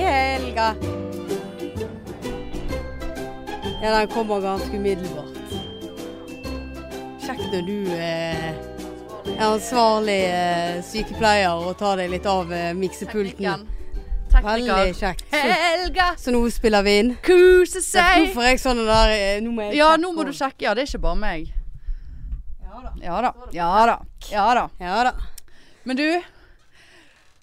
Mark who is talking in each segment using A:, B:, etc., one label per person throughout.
A: tenker Ja, den kommer ganske umiddelbart. Kjekt når du eh, er ansvarlig eh, sykepleier og tar deg litt av eh, miksepulten.
B: Teknikken. Tekniker.
A: Veldig kjekt. Så,
B: Helga
A: så nå spiller vi inn.
B: kose
A: Nå
B: seg!
A: får jeg sånne der eh, Nå må jeg
B: Ja,
A: sjekke
B: nå må du
A: om-
B: sjekke. Ja, det er ikke bare meg.
A: Ja da.
B: Ja da. Ja da. Ja da.
A: Ja da.
B: Men du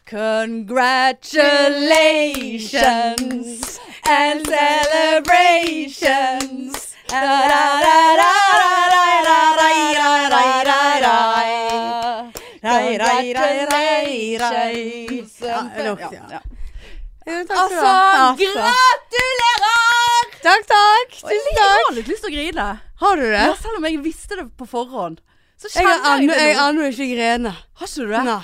B: Congratulations and celebrations. Congratulations.
A: Ja, nok,
B: Ja,
A: ja.
B: ja.
A: Jo, takk skal du
B: Altså,
A: ha. Altså.
B: gratulerer!
A: Takk, takk. Tusen
B: Jeg
A: takk.
B: har litt lyst til å grine.
A: Har du det?
B: Ja, selv om jeg visste det på forhånd. Så
A: Jeg har
B: kjenner jeg,
A: ennå- jeg
B: det
A: har
B: nå.
A: ennå ikke grene.
B: Har ikke du det?
A: Nei.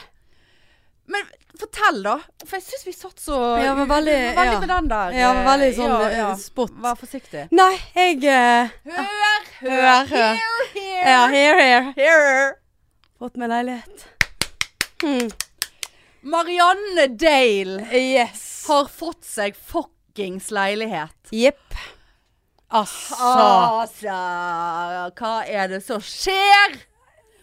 B: Men fortell, da. For jeg syns vi satt så
A: Ja, men veldig-
B: Vi var veldig
A: ja.
B: med den der.
A: Ja, men veldig sånn,
B: Ja,
A: eh,
B: ja.
A: spot.
B: Vær forsiktig.
A: Nei, jeg eh,
B: Hør,
A: Hør, hør.
B: Hear, hear.
A: Ja, here, here.
B: Hear.
A: Fått meg leilighet. Hmm.
B: Marianne Dale
A: Yes.
B: har fått seg fuckings leilighet.
A: Jepp. Altså.
B: Altså, hva er det som skjer?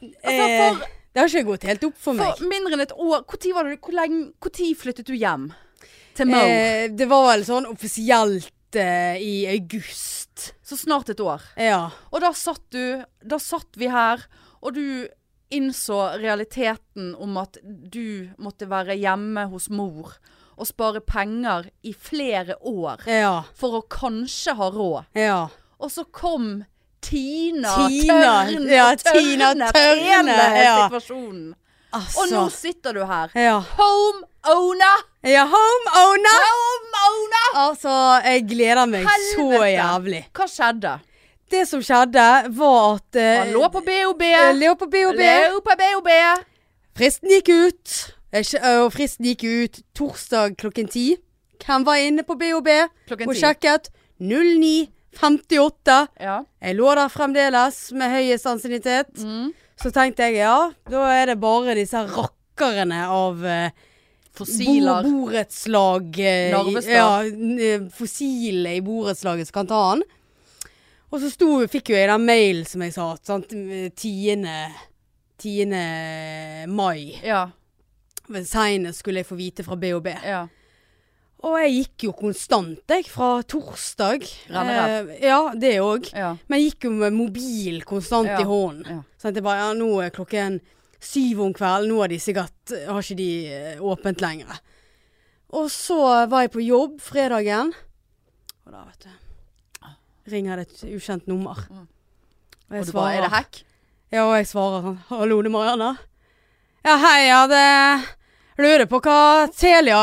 A: eh,
B: Altså, for-
A: Det har ikke gått helt opp for meg.
B: For mindre enn et år Hvor tid var det, hvor lenge, hvor tid flyttet du hjem? Til Mo?
A: Eh, det var vel sånn offisielt eh, i august.
B: Så snart et år.
A: Ja.
B: Og da satt du Da satt vi her, og du innså realiteten om at du måtte være hjemme hos mor og spare penger i flere år
A: Ja.
B: for å kanskje ha råd.
A: Ja.
B: Og så kom Tina,
A: Tina,
B: Tørne,
A: ja, Tina
B: Tørne,
A: Tørne,
B: hele
A: ja.
B: situasjonen.
A: Altså.
B: Og nå sitter du her.
A: Ja.
B: Homeowner!
A: ja Homeowner!
B: Homeowner!
A: Altså, jeg gleder meg så
B: Helvete.
A: jævlig.
B: Hva skjedde?
A: Det som skjedde, var at eh,
B: Han lå på BOB.
A: eh, lå på BOB.
B: Lå på BOB.
A: Fristen gikk ut. Eh, ikke- eh, Og fristen gikk ut torsdag klokken ti. Hvem var inne på BOB
B: Klokken
A: og
B: 10.
A: sjekket? 09.58.
B: Ja.
A: Jeg lå der fremdeles med høyest ansiennitet.
B: Mm.
A: Så tenkte jeg ja, da er det bare disse rakkerne av eh,
B: Fossiler.
A: Bo borettslag eh,
B: Narvestad.
A: i- Ja, n- eh, fossile i borettslaget som kan ta han. Og så sto, fikk jo jeg den mailen som jeg sa, sant, 10. 10. mai.
B: Ja,
A: Men Senest skulle jeg få vite fra BHB.
B: ja.
A: Og jeg gikk jo konstant, jeg, fra torsdag.
B: Rennerev.
A: Eh, ja, det òg.
B: ja.
A: Men jeg gikk jo med mobil konstant
B: Ja,
A: i hånden.
B: ja.
A: Sånn at jeg bare, ja, nå er klokken syv om kvelden, nå er de sikkert, har ikke de eh, åpent lenger. Og så var jeg på jobb fredagen, og da, vet du, ringer det et ukjent nummer.
B: Mm.
A: Og
B: Og
A: jeg
B: du bare, er det
A: svarer,
B: hack?
A: ja, og jeg svarer sånn, hallo, det er Marianne. Ja, hei, ja, det lurer på hva Telia,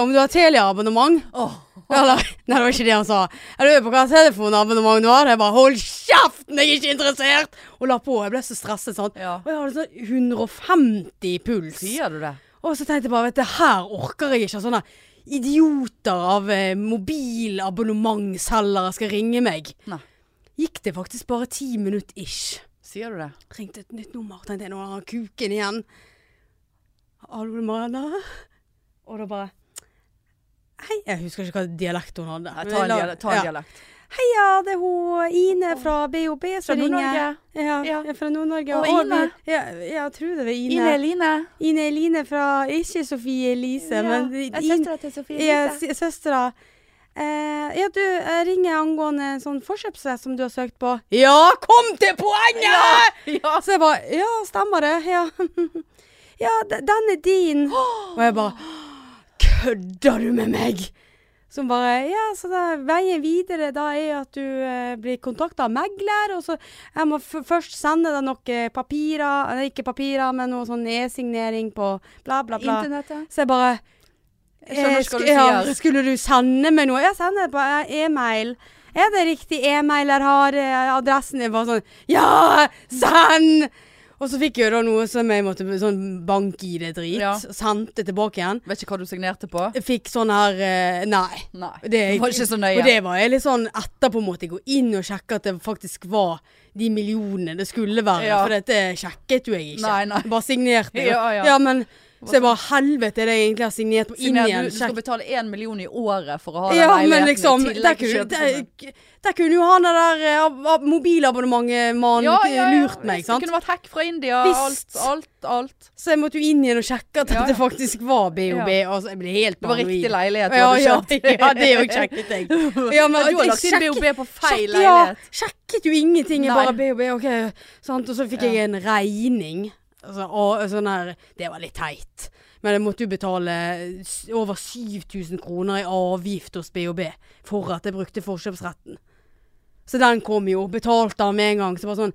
A: om du har Telia-abonnement.
B: Åh.
A: Eller, nei, det var ikke det han sa. Jeg lurer på hva telefonabonnement du har. Jeg bare 'hold kjeften, jeg er ikke interessert!' Og la på. Jeg ble så stresset sånn.
B: Ja.
A: Og jeg hadde sånn 150 i puls.
B: Sier du det?
A: Og så tenkte jeg bare vet du, her orker jeg ikke at sånne idioter av eh, mobilabonnementsselgere skal ringe meg.
B: Nei.
A: Gikk det faktisk bare ti minutter ish.
B: Sier du det?
A: Ringte et nytt nummer. Tenkte jeg nå har han kuken igjen. Hallo, Marianne. Og da bare Hei, jeg husker ikke hva dialekt hun hadde.
B: Nei, ta en,
A: La-
B: dialekt, ta en
A: ja.
B: dialekt.
A: Heia, det er hun Ine fra BOB
B: Fra
A: som ringer.
B: Nord-Norge.
A: Ja,
B: Ja.
A: jeg er fra Nord-Norge.
B: Og Ine.
A: vi- Ja, ja, jeg tror det var Ine.
B: Ine
A: Ine,
B: Eline.
A: Eline fra Ikke Sofie Elise, men
B: Jeg er
A: Ine-
B: søstera til Sofie
A: ja,
B: Elise.
A: s- søstera. Eh, ja, du, jeg ringer angående en sånn forkjøpsrett som du har søkt på. Ja, kom til poenget!
B: Ja.
A: Så jeg bare Ja, stemmer det. Ja, ja d- den er din. Og jeg bare Kødder du med meg?! Så hun bare Ja, så da, veien videre da er at du eh, blir kontakta av megler, og så jeg må f først sende deg noen papirer Nei, ikke papirer, men noe sånn e-signering på bla, bla, bla.
B: Internettet.
A: Så jeg bare
B: Jeg skjønner
A: eh,
B: ikke hva du
A: sk- ja,
B: sier.
A: Skulle du sende meg noe? Ja, send det på eh, e-mail. Er det riktig e-mail jeg har? eh, Adressen er bare sånn Ja, send! Og så fikk jeg jo da noe som jeg måtte sånn bank-ID-drit.
B: Ja.
A: Sendte tilbake igjen.
B: Vet ikke hva du signerte på?
A: Jeg fikk sånn her eh, Nei.
B: Nei.
A: Det,
B: Du var ikke så nøye.
A: Og det var jeg litt sånn etterpå måtte jeg gå inn og sjekke at det faktisk var de millionene det skulle være.
B: Ja.
A: For dette sjekket jo jeg ikke.
B: Nei, nei.
A: Bare signerte. jeg.
B: Ja, ja.
A: men Så jeg bare Helvete, er det jeg egentlig har signert på inn
B: Siden
A: igjen?
B: du, du skal
A: Sjekk.
B: betale én million i året for å ha
A: Ja,
B: den
A: men
B: leiligheten
A: liksom
B: i
A: Der
B: tillegg til
A: kunne, der,
B: kjøpesummen.
A: der kunne jo han der eh, ab- ab- mobilabonnementmannen
B: Ja, ja, ja.
A: lurt meg,
B: Det
A: sant?
B: kunne vært hack fra India.
A: Visst.
B: Alt, alt, alt.
A: Så jeg måtte jo inn igjen og sjekke at
B: Ja, ja.
A: dette faktisk var BOB. Altså, jeg ble helt
B: Det var riktig leilighet du
A: Ja,
B: hadde
A: ja,
B: kjøpt.
A: ja, det jo sjekket jeg. Ja, men
B: Ja, du har
A: jeg
B: lagt inn
A: sjekket-
B: BOB på feil
A: sjekket- ja,
B: leilighet.
A: Sjekket jo ingenting. Jeg
B: Nei.
A: bare BOB, OK. Sant? Og så fikk
B: Ja.
A: jeg en regning. Altså, og, sånn her Det var litt teit. Men jeg måtte jo betale s- over 7000 kroner i avgift hos BOB for at jeg brukte forkjøpsretten. Så den kom jo. Betalte han med en gang. Så bare sånn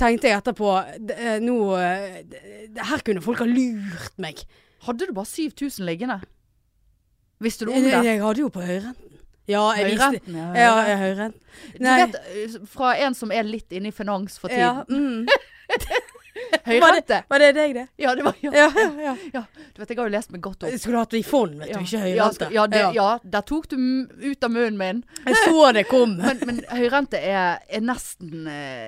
A: tenkte jeg etterpå d- eh, Nå eh, d- d- Her kunne folk ha lurt meg.
B: Hadde du bare 7000 liggende? Visste du
A: Jeg,
B: om det?
A: jeg hadde jo på høyrenten. Ja, Eh, jeg visste
B: Høyrenten, ja.
A: Ja, jeg hører den.
B: Du vet, eh, fra en som er litt inne i finans for
A: ja, mm.
B: tiden.
A: Var det,
B: Høyrente!
A: var det deg, det?
B: Ja, det var ja.
A: Ja, ja, ja.
B: ja. Du vet, jeg har jo lest meg godt opp.
A: Skulle hatt det i fond, vet du. Ikke
B: ja,
A: høyrente.
B: ja, det, ja, der tok du m- ut av munnen min.
A: Jeg så det komme.
B: Men, men høyrente er, er nesten eh,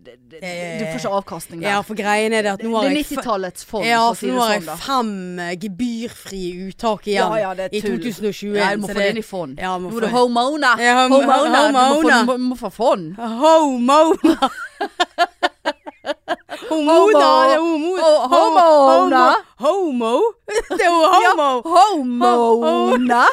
B: det- det- Du får ikke avkastning der.
A: Ja, for greien er det at
B: det
A: nå har
B: er
A: jeg, fe-
B: 90-tallets fond,
A: ja,
B: for å
A: for
B: si
A: nå
B: det
A: har jeg
B: sånn. da.
A: fem eh, gebyrfrie uttak igjen
B: Ja, ja, det er
A: i
B: tull.
A: 2021.
B: Ja, du må
A: så
B: få det inn i fond.
A: Ja, må
B: Nå
A: få
B: er det
A: det.
B: homeowner.
A: Ja, hom-
B: Homeowner. Du må få-
A: homeowner.
B: må- må få fond.
A: Homo! Homo, da. det er Homo.
B: Ho- homo,
A: Ho-
B: da.
A: Homo? Det er jo homo.
B: Homeowner.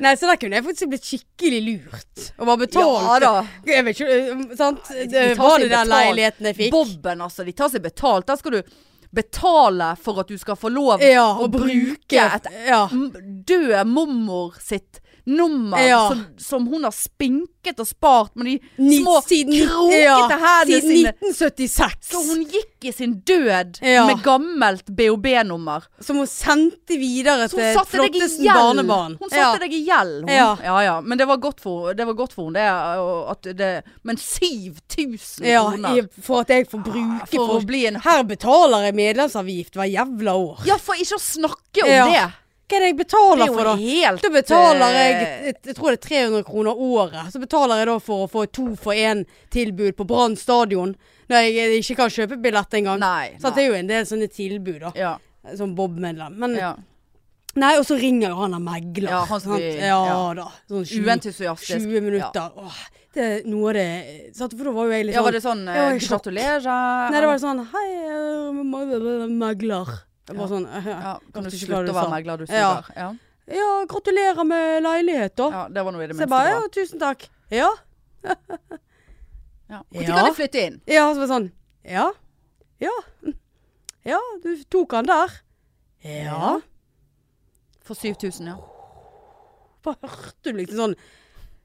A: Nei, så der kunne jeg faktisk blitt skikkelig lurt. Og bare betalt.
B: Ja da.
A: Jeg vet ikke, øh, sant?
B: tar
A: Det var
B: sin
A: det den
B: betalt.
A: leiligheten jeg fikk.
B: Bobben, altså. De tar seg betalt. Der skal du betale for at du skal få lov
A: Ja,
B: å
A: og
B: bruke
A: bruke
B: et
A: ja.
B: m- døde mormor sitt nummer
A: Ja.
B: som, som hun har spinket og spart med de
A: Ni-
B: små
A: siden-
B: krokete
A: ja,
B: hendene
A: Siden
B: sine.
A: 1976.
B: Så hun gikk i sin død
A: Ja.
B: med gammelt BOB-nummer.
A: som hun sendte videre
B: Så hun
A: til
B: satte deg i
A: Flottesen
B: gjeld.
A: barnebarn.
B: Hun
A: Ja.
B: satte deg i gjeld. Hun. Ja.
A: Ja.
B: ja Men det var godt for, det var godt for henne. Det, er, og at det, men 7000
A: ja,
B: kroner
A: i- for at jeg får bruke
B: Ah, for å
A: for,
B: bli en
A: Her betaler jeg medlemsavgift hver jævla år.
B: Ja, for ikke å snakke om
A: Ja.
B: det.
A: Hva er det jeg
B: Det
A: betaler
B: er jo
A: for, da?
B: helt
A: Da betaler
B: eh,
A: jeg jeg, jeg tror det er 300 kroner året. Så betaler jeg da for å få et to for én-tilbud på Brann stadion. Når jeg ikke kan kjøpe billett engang.
B: Nei.
A: Så det er jo en del sånne tilbud, da.
B: Ja,
A: Som Bob-medlem. Men
B: ja.
A: Nei, og så ringer jo han der megler.
B: Ja, han som
A: sant?
B: vi-
A: ja,
B: ja.
A: da. Sånn 20,
B: Uentusiastisk.
A: 20 minutter. Åh, det er noe av det sant? For da var jo jeg
B: Ja.
A: litt
B: ja,
A: sånn
B: var det sånn
A: Jeg var
B: eh,
A: i sjokk.
B: Gratulerer.
A: Nei, det var sånn Hei, eh, meg- megler. Jeg
B: Ja.
A: bare sånn eh,
B: ja, Kan du
A: Hørte ikke hva du
B: slutte
A: sånn.
B: å være
A: sa.
B: megler, du
A: Ja.
B: suger? Ja.
A: Ja, gratulerer med leilighet, da.
B: ja, det var nå i det
A: så
B: minste
A: jeg bare
B: bra.
A: Ja, tusen takk. Ja.
B: Ja. Når
A: Ja.
B: kan jeg flytte inn?
A: Ja, så var det sånn Ja. Ja. Ja, du tok han der. Ja.
B: For 7000, ja.
A: Bare hørte du liksom sånn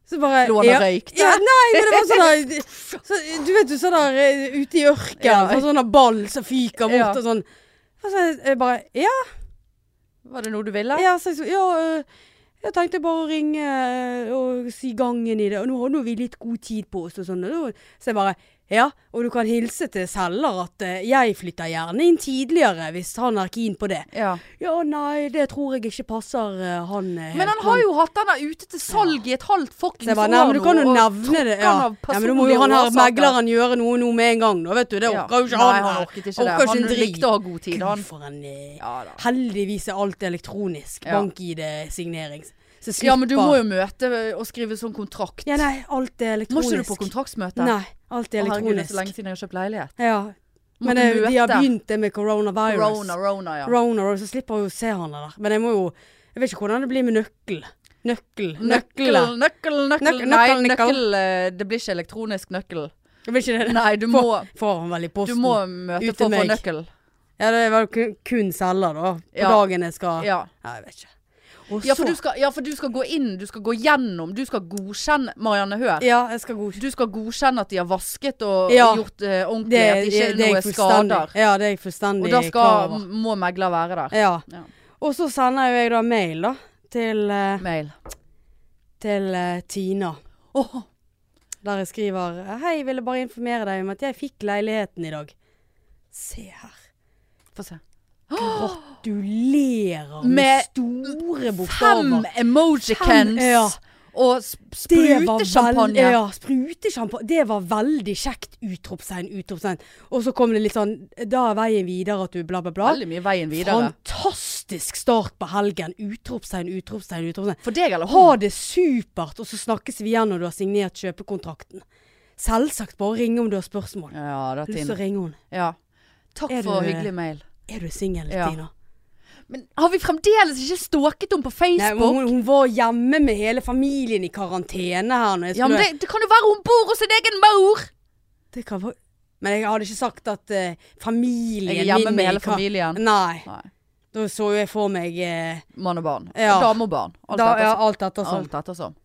A: Så bare
B: Lå han
A: ja.
B: og røykte?
A: Ja, nei, men det var sånn der så, Du vet du sånn der eh, ute i ørkenen,
B: Ja.
A: og sånn der ball som fyker bort
B: Ja.
A: og sånn. Og så jeg bare Ja,
B: Var det noe du ville?
A: ja, så, jeg så- ja eh, jeg tenkte bare å ringe eh, og si gangen i det. Og nå hadde jo vi litt god tid på oss og sånn. Og da, så jeg bare Ja, og du kan hilse til selger at eh, jeg flytter gjerne inn tidligere hvis han er keen på det.
B: Ja.
A: Ja, nei, det tror jeg ikke passer eh, han eh,
B: Men han
A: helt,
B: har jo hatt denne ute til salg i et halvt fuckings
A: Så jeg
B: år
A: bare, nei, men du kan jo
B: nå, og
A: nevne det.
B: trukket
A: Ja.
B: han av
A: ja, men da må jo
B: personlige
A: han her
B: årsaker.
A: megleren gjøre noe nå med en gang, da, vet du. Det
B: Ja.
A: orker jo ikke
B: Nei,
A: han.
B: han
A: her.
B: orket ikke
A: Orker
B: det.
A: ikke
B: Han
A: en drit.
B: likte å ha god tid, han.
A: Gud, for en eh,
B: Ja, da.
A: Heldigvis er alt elektronisk.
B: Ja.
A: Bank-ID-signering. Så slipper
B: ja, men du må jo møte og skrive sånn kontrakt.
A: Ja, nei, alt er
B: Må
A: elektronisk.
B: ikke du på kontraktsmøte?
A: Nei, alt er
B: Å, herregud, det er så
A: elektronisk.
B: lenge siden jeg har kjøpt leilighet.
A: Ja.
B: Må
A: Men
B: du
A: det, de har
B: møte?
A: begynt det med coronavirus.
B: Rona, Rona, ja.
A: Rona, og så slipper jeg jo å se han der. Men jeg må jo Jeg vet ikke hvordan det blir med nøkkel. Nøkkel.
B: Nøkkel,
A: Nøkler.
B: nøkkel, nøkkel.
A: Nøkkel,
B: Nei,
A: nøkkel, nøkkel.
B: nøkkel eh, Det blir ikke elektronisk nøkkel.
A: Jeg vil ikke det.
B: Nei, du må,
A: Får han vel i
B: du
A: posten.
B: må
A: Ut
B: møte
A: til
B: for å få
A: meg.
B: nøkkel.
A: Ja, det var kun, kun selger, da. På
B: Ja.
A: dagen jeg skal
B: Ja.
A: Nei, jeg vet ikke. Og
B: Ja, for
A: så-
B: du skal, ja, for du skal gå inn, du skal gå gjennom, du skal godkjenne Marianne Hør.
A: Ja, jeg skal godkjenne.
B: Du skal godkjenne at de har vasket og
A: Ja.
B: gjort eh, ordentlig,
A: Det,
B: at det
A: det,
B: ikke
A: det er
B: er
A: jeg
B: noe
A: fullstendig
B: skader.
A: Ja, det er jeg fullstendig
B: Og da
A: klar
B: skal,
A: over.
B: må megler være der.
A: Ja.
B: Ja.
A: Og så sender jo jeg da mail, da. Til, eh,
B: Mail.
A: til eh, Tina.
B: Åh,
A: Der jeg skriver Hei, jeg ville bare informere deg om at jeg fikk leiligheten i dag. Se her.
B: få se.
A: Gratulerer med,
B: Med
A: store bokstaver.
B: Fem emojicans
A: Fem, ja.
B: Og sp-
A: Det var
B: sprute champagne.
A: veld- Ja, sprutesjampanje. Det var veldig kjekt. Utropstegn, utropstegn. Og så kom det litt sånn Da er veien videre at du bla, bla, bla.
B: Veldig mye veien videre.
A: Fantastisk start på helgen. Utropstegn, utropstegn, utropstegn.
B: For deg eller
A: Ha
B: hun?
A: det supert, og så snakkes vi igjen når du har signert kjøpekontrakten. Selvsagt, bare ring om du har spørsmål.
B: Ja, da,
A: Lyst til å
B: Tine.
A: ringe hun.
B: Ja. Takk
A: Er
B: for
A: du- eh,
B: hyggelig mail.
A: Er du singel,
B: Ja.
A: Tina?
B: Men har vi fremdeles ikke stalket henne på
A: Nei,
B: Facebook?
A: hun, hun var hjemme med hele familien i karantene her. Når jeg
B: ja, men
A: skulle-
B: det, det kan jo være hun bor hos sin egen mor!
A: Det kan være- men jeg hadde ikke sagt at eh, familien
B: Jeg er hjemme
A: min
B: med
A: i
B: hele
A: kar-
B: familien.
A: Nei.
B: Nei.
A: Da så jo jeg for meg eh,
B: Mann og barn.
A: Ja.
B: Dame og barn. Alt
A: da,
B: etter
A: ja,
B: som-
A: alt etter sånn.
B: Alt ettersom.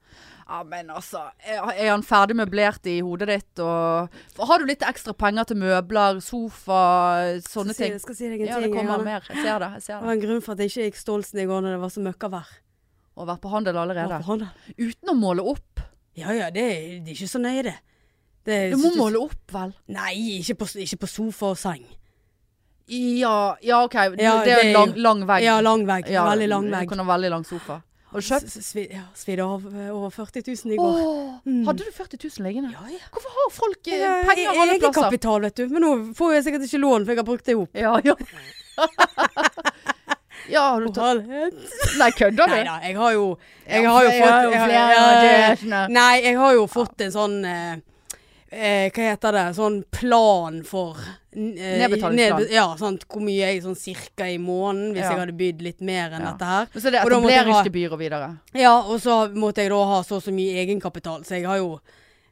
B: Ja, men altså, er er han ferdig møblert i hodet ditt? Og for har du litt ekstra penger til møbler, sofa,
A: Skal
B: sånne
A: si-
B: ting?
A: Skal si deg en
B: Ja,
A: ting.
B: det kommer
A: Janne.
B: mer. Jeg ser det. jeg ser
A: Det
B: det.
A: var en grunn for at jeg ikke gikk Stolsen i går når det var så møkkavær.
B: Og vært på handel allerede.
A: Hvorfor han da?
B: Uten å måle opp.
A: Ja ja, det, er- det er ikke så nøye, det. det
B: Du må måle opp, vel?
A: Nei, ikke på, ikke på sofa og seng.
B: Ja, ja OK. Du,
A: Ja,
B: det er jo en
A: det er
B: lang, lang vegg.
A: Ja, lang vegg.
B: Ja,
A: veldig lang
B: Du
A: vegg.
B: kan ha veldig lang sofa. Har du kjøpt?
A: S- svi- ja, Svidde av eh, over 40 000 i går.
B: Åh, Hadde du 40 000 liggende?
A: Ja, ja.
B: Hvorfor har folk eh,
A: Mm. Ja,
B: penger alle plasser?
A: Egenkapital, vet du. Men nå får jeg sikkert ikke lån, for jeg har brukt det opp.
B: Ja, ja. ja, har du tatt Nei, kødder
A: Nei
B: du?
A: da, jeg har jo Jeg har jo
B: Ja,
A: fått
B: ja,
A: jeg har-
B: flere,
A: ja,
B: det er ikke noe.
A: Nei, jeg har jo fått en sånn eh, eh, Hva heter det? Sånn plan for eh,
B: Nedbetalingsplan.
A: nedbe- Ja, sånn hvor mye jeg sånn cirka i måneden hvis
B: Ja.
A: jeg hadde bydd litt mer enn
B: Ja.
A: dette her.
B: Men Så det er
A: Og da måtte jeg ha-
B: etableringsgebyr og videre.
A: Ja, og så måtte jeg da ha så og så mye egenkapital, så jeg har jo